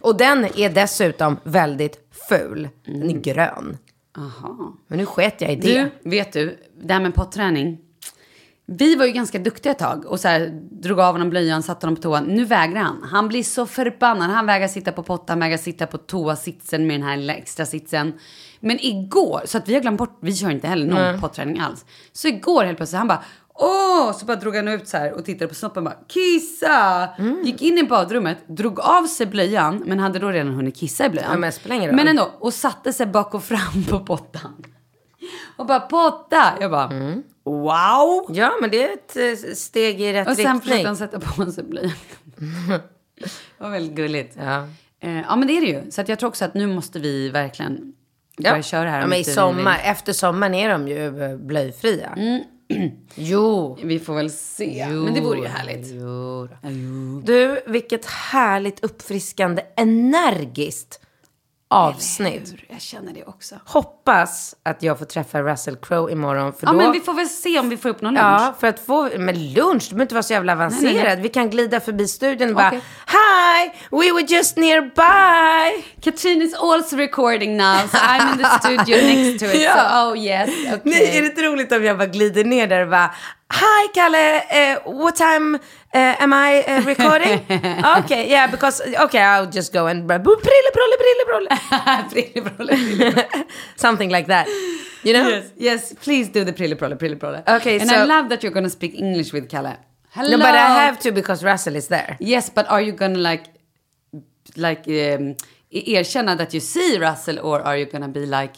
S3: Och den är dessutom väldigt ful. Den är grön.
S1: Aha.
S3: Men nu sket jag i det.
S1: Mm. Du, vet du, det här med potträning. Vi var ju ganska duktiga ett tag och så här, drog av honom blöjan, satte honom på toan. Nu vägrar han. Han blir så förbannad. Han vägrar sitta på potta, han vägrar sitta på toasitsen med den här lilla extra sitsen. Men igår, så att vi har glömt bort, vi kör inte heller någon potträning alls. Så igår helt plötsligt, han bara Åh! Så bara drog han ut så här och tittade på snoppen och bara kissa!
S3: Mm.
S1: Gick in i badrummet, drog av sig blöjan men hade då redan hunnit kissa i blöjan.
S3: Ja, men spelar ingen roll.
S1: Men ändå, och satte sig bak och fram på pottan. Och bara potta! Jag bara
S3: Mm.
S1: wow!
S3: Ja, men det är ett eh, steg i rätt
S1: Och sen försökte
S3: riktning.
S1: han sätta på sig blöjan. det var väldigt gulligt.
S3: Ja.
S1: Eh, ja men det är det ju. Så att jag tror också att nu måste vi verkligen börja köra här.
S3: ja,
S1: om
S3: men i
S1: inte vi
S3: sommar, efter sommaren är de ju eh, blöjfria. Jo.
S1: vill. Vi får väl se. men det vore ju härligt.
S3: Jo då. Du, vilket härligt uppfriskande, energiskt avsnitt.
S1: Hur? Jag känner det också.
S3: Hoppas att jag får träffa Russell Crowe imorgon. För
S1: Ja
S3: då,
S1: men vi får väl se om vi får upp någon lunch.
S3: Ja, för att få... Men lunch, du behöver inte vara så jävla avancerad.
S1: nej, nej.
S3: Vi kan glida förbi studion och bara Hi, we were just nearby.
S1: Katrin is also recording now so I'm in the studio next to it.
S3: Ja.
S1: So, oh yes, okay.
S3: Nej, är det inte roligt om jag bara glider ner där och bara Hi Kalle, eh, what time eh, am I eh, recording? okay, yeah, because, okay, I'll just go and bra- boop, prille, prolle, prille, prolle.
S1: Prilleprolle, prilleprolle.
S3: Something like that. You know?
S1: yes, yes, please do the prilleprolle, prilleprolle.
S3: Okay,
S1: and
S3: so-
S1: I love that you're gonna speak English with Kalle. Hello.
S3: No, but I have to because Russell is there.
S1: Yes, but are you gonna like, like um, e- erkänna that you see Russell or are you gonna be like,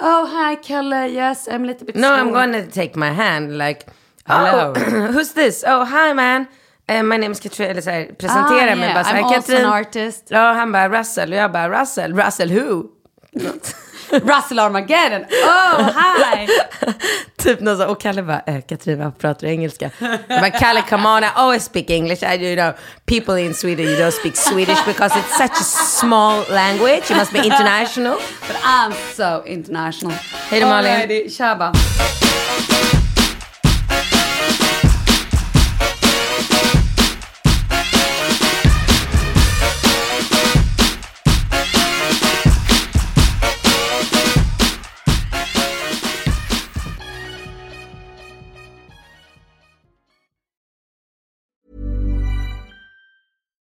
S1: oh hi Kalle, yes I'm a little bit
S3: No, I'm
S1: small."
S3: gonna take my hand like,
S1: Hello.
S3: oh, who's this? Oh, hi man. Eh, my name is Katrin, eller såhär, presentera
S1: Ah,
S3: mig
S1: yeah,
S3: bara såhär,
S1: I'm also
S3: Katrin.
S1: an artist.
S3: Ja, han bara Russell och jag bara Russell, Russell who?
S1: Russell Armageddon, oh hi!
S3: typ någon så, och Kalle bara, eh, Katrin varför pratar du engelska? Jag bara, Kalle come on, I always speak English. I, you know, people in Sweden, you don't speak Swedish because it's such a small language. You must be international.
S1: But I'm so international.
S3: Hej då, Malin.
S1: Alrighty, Kör bara.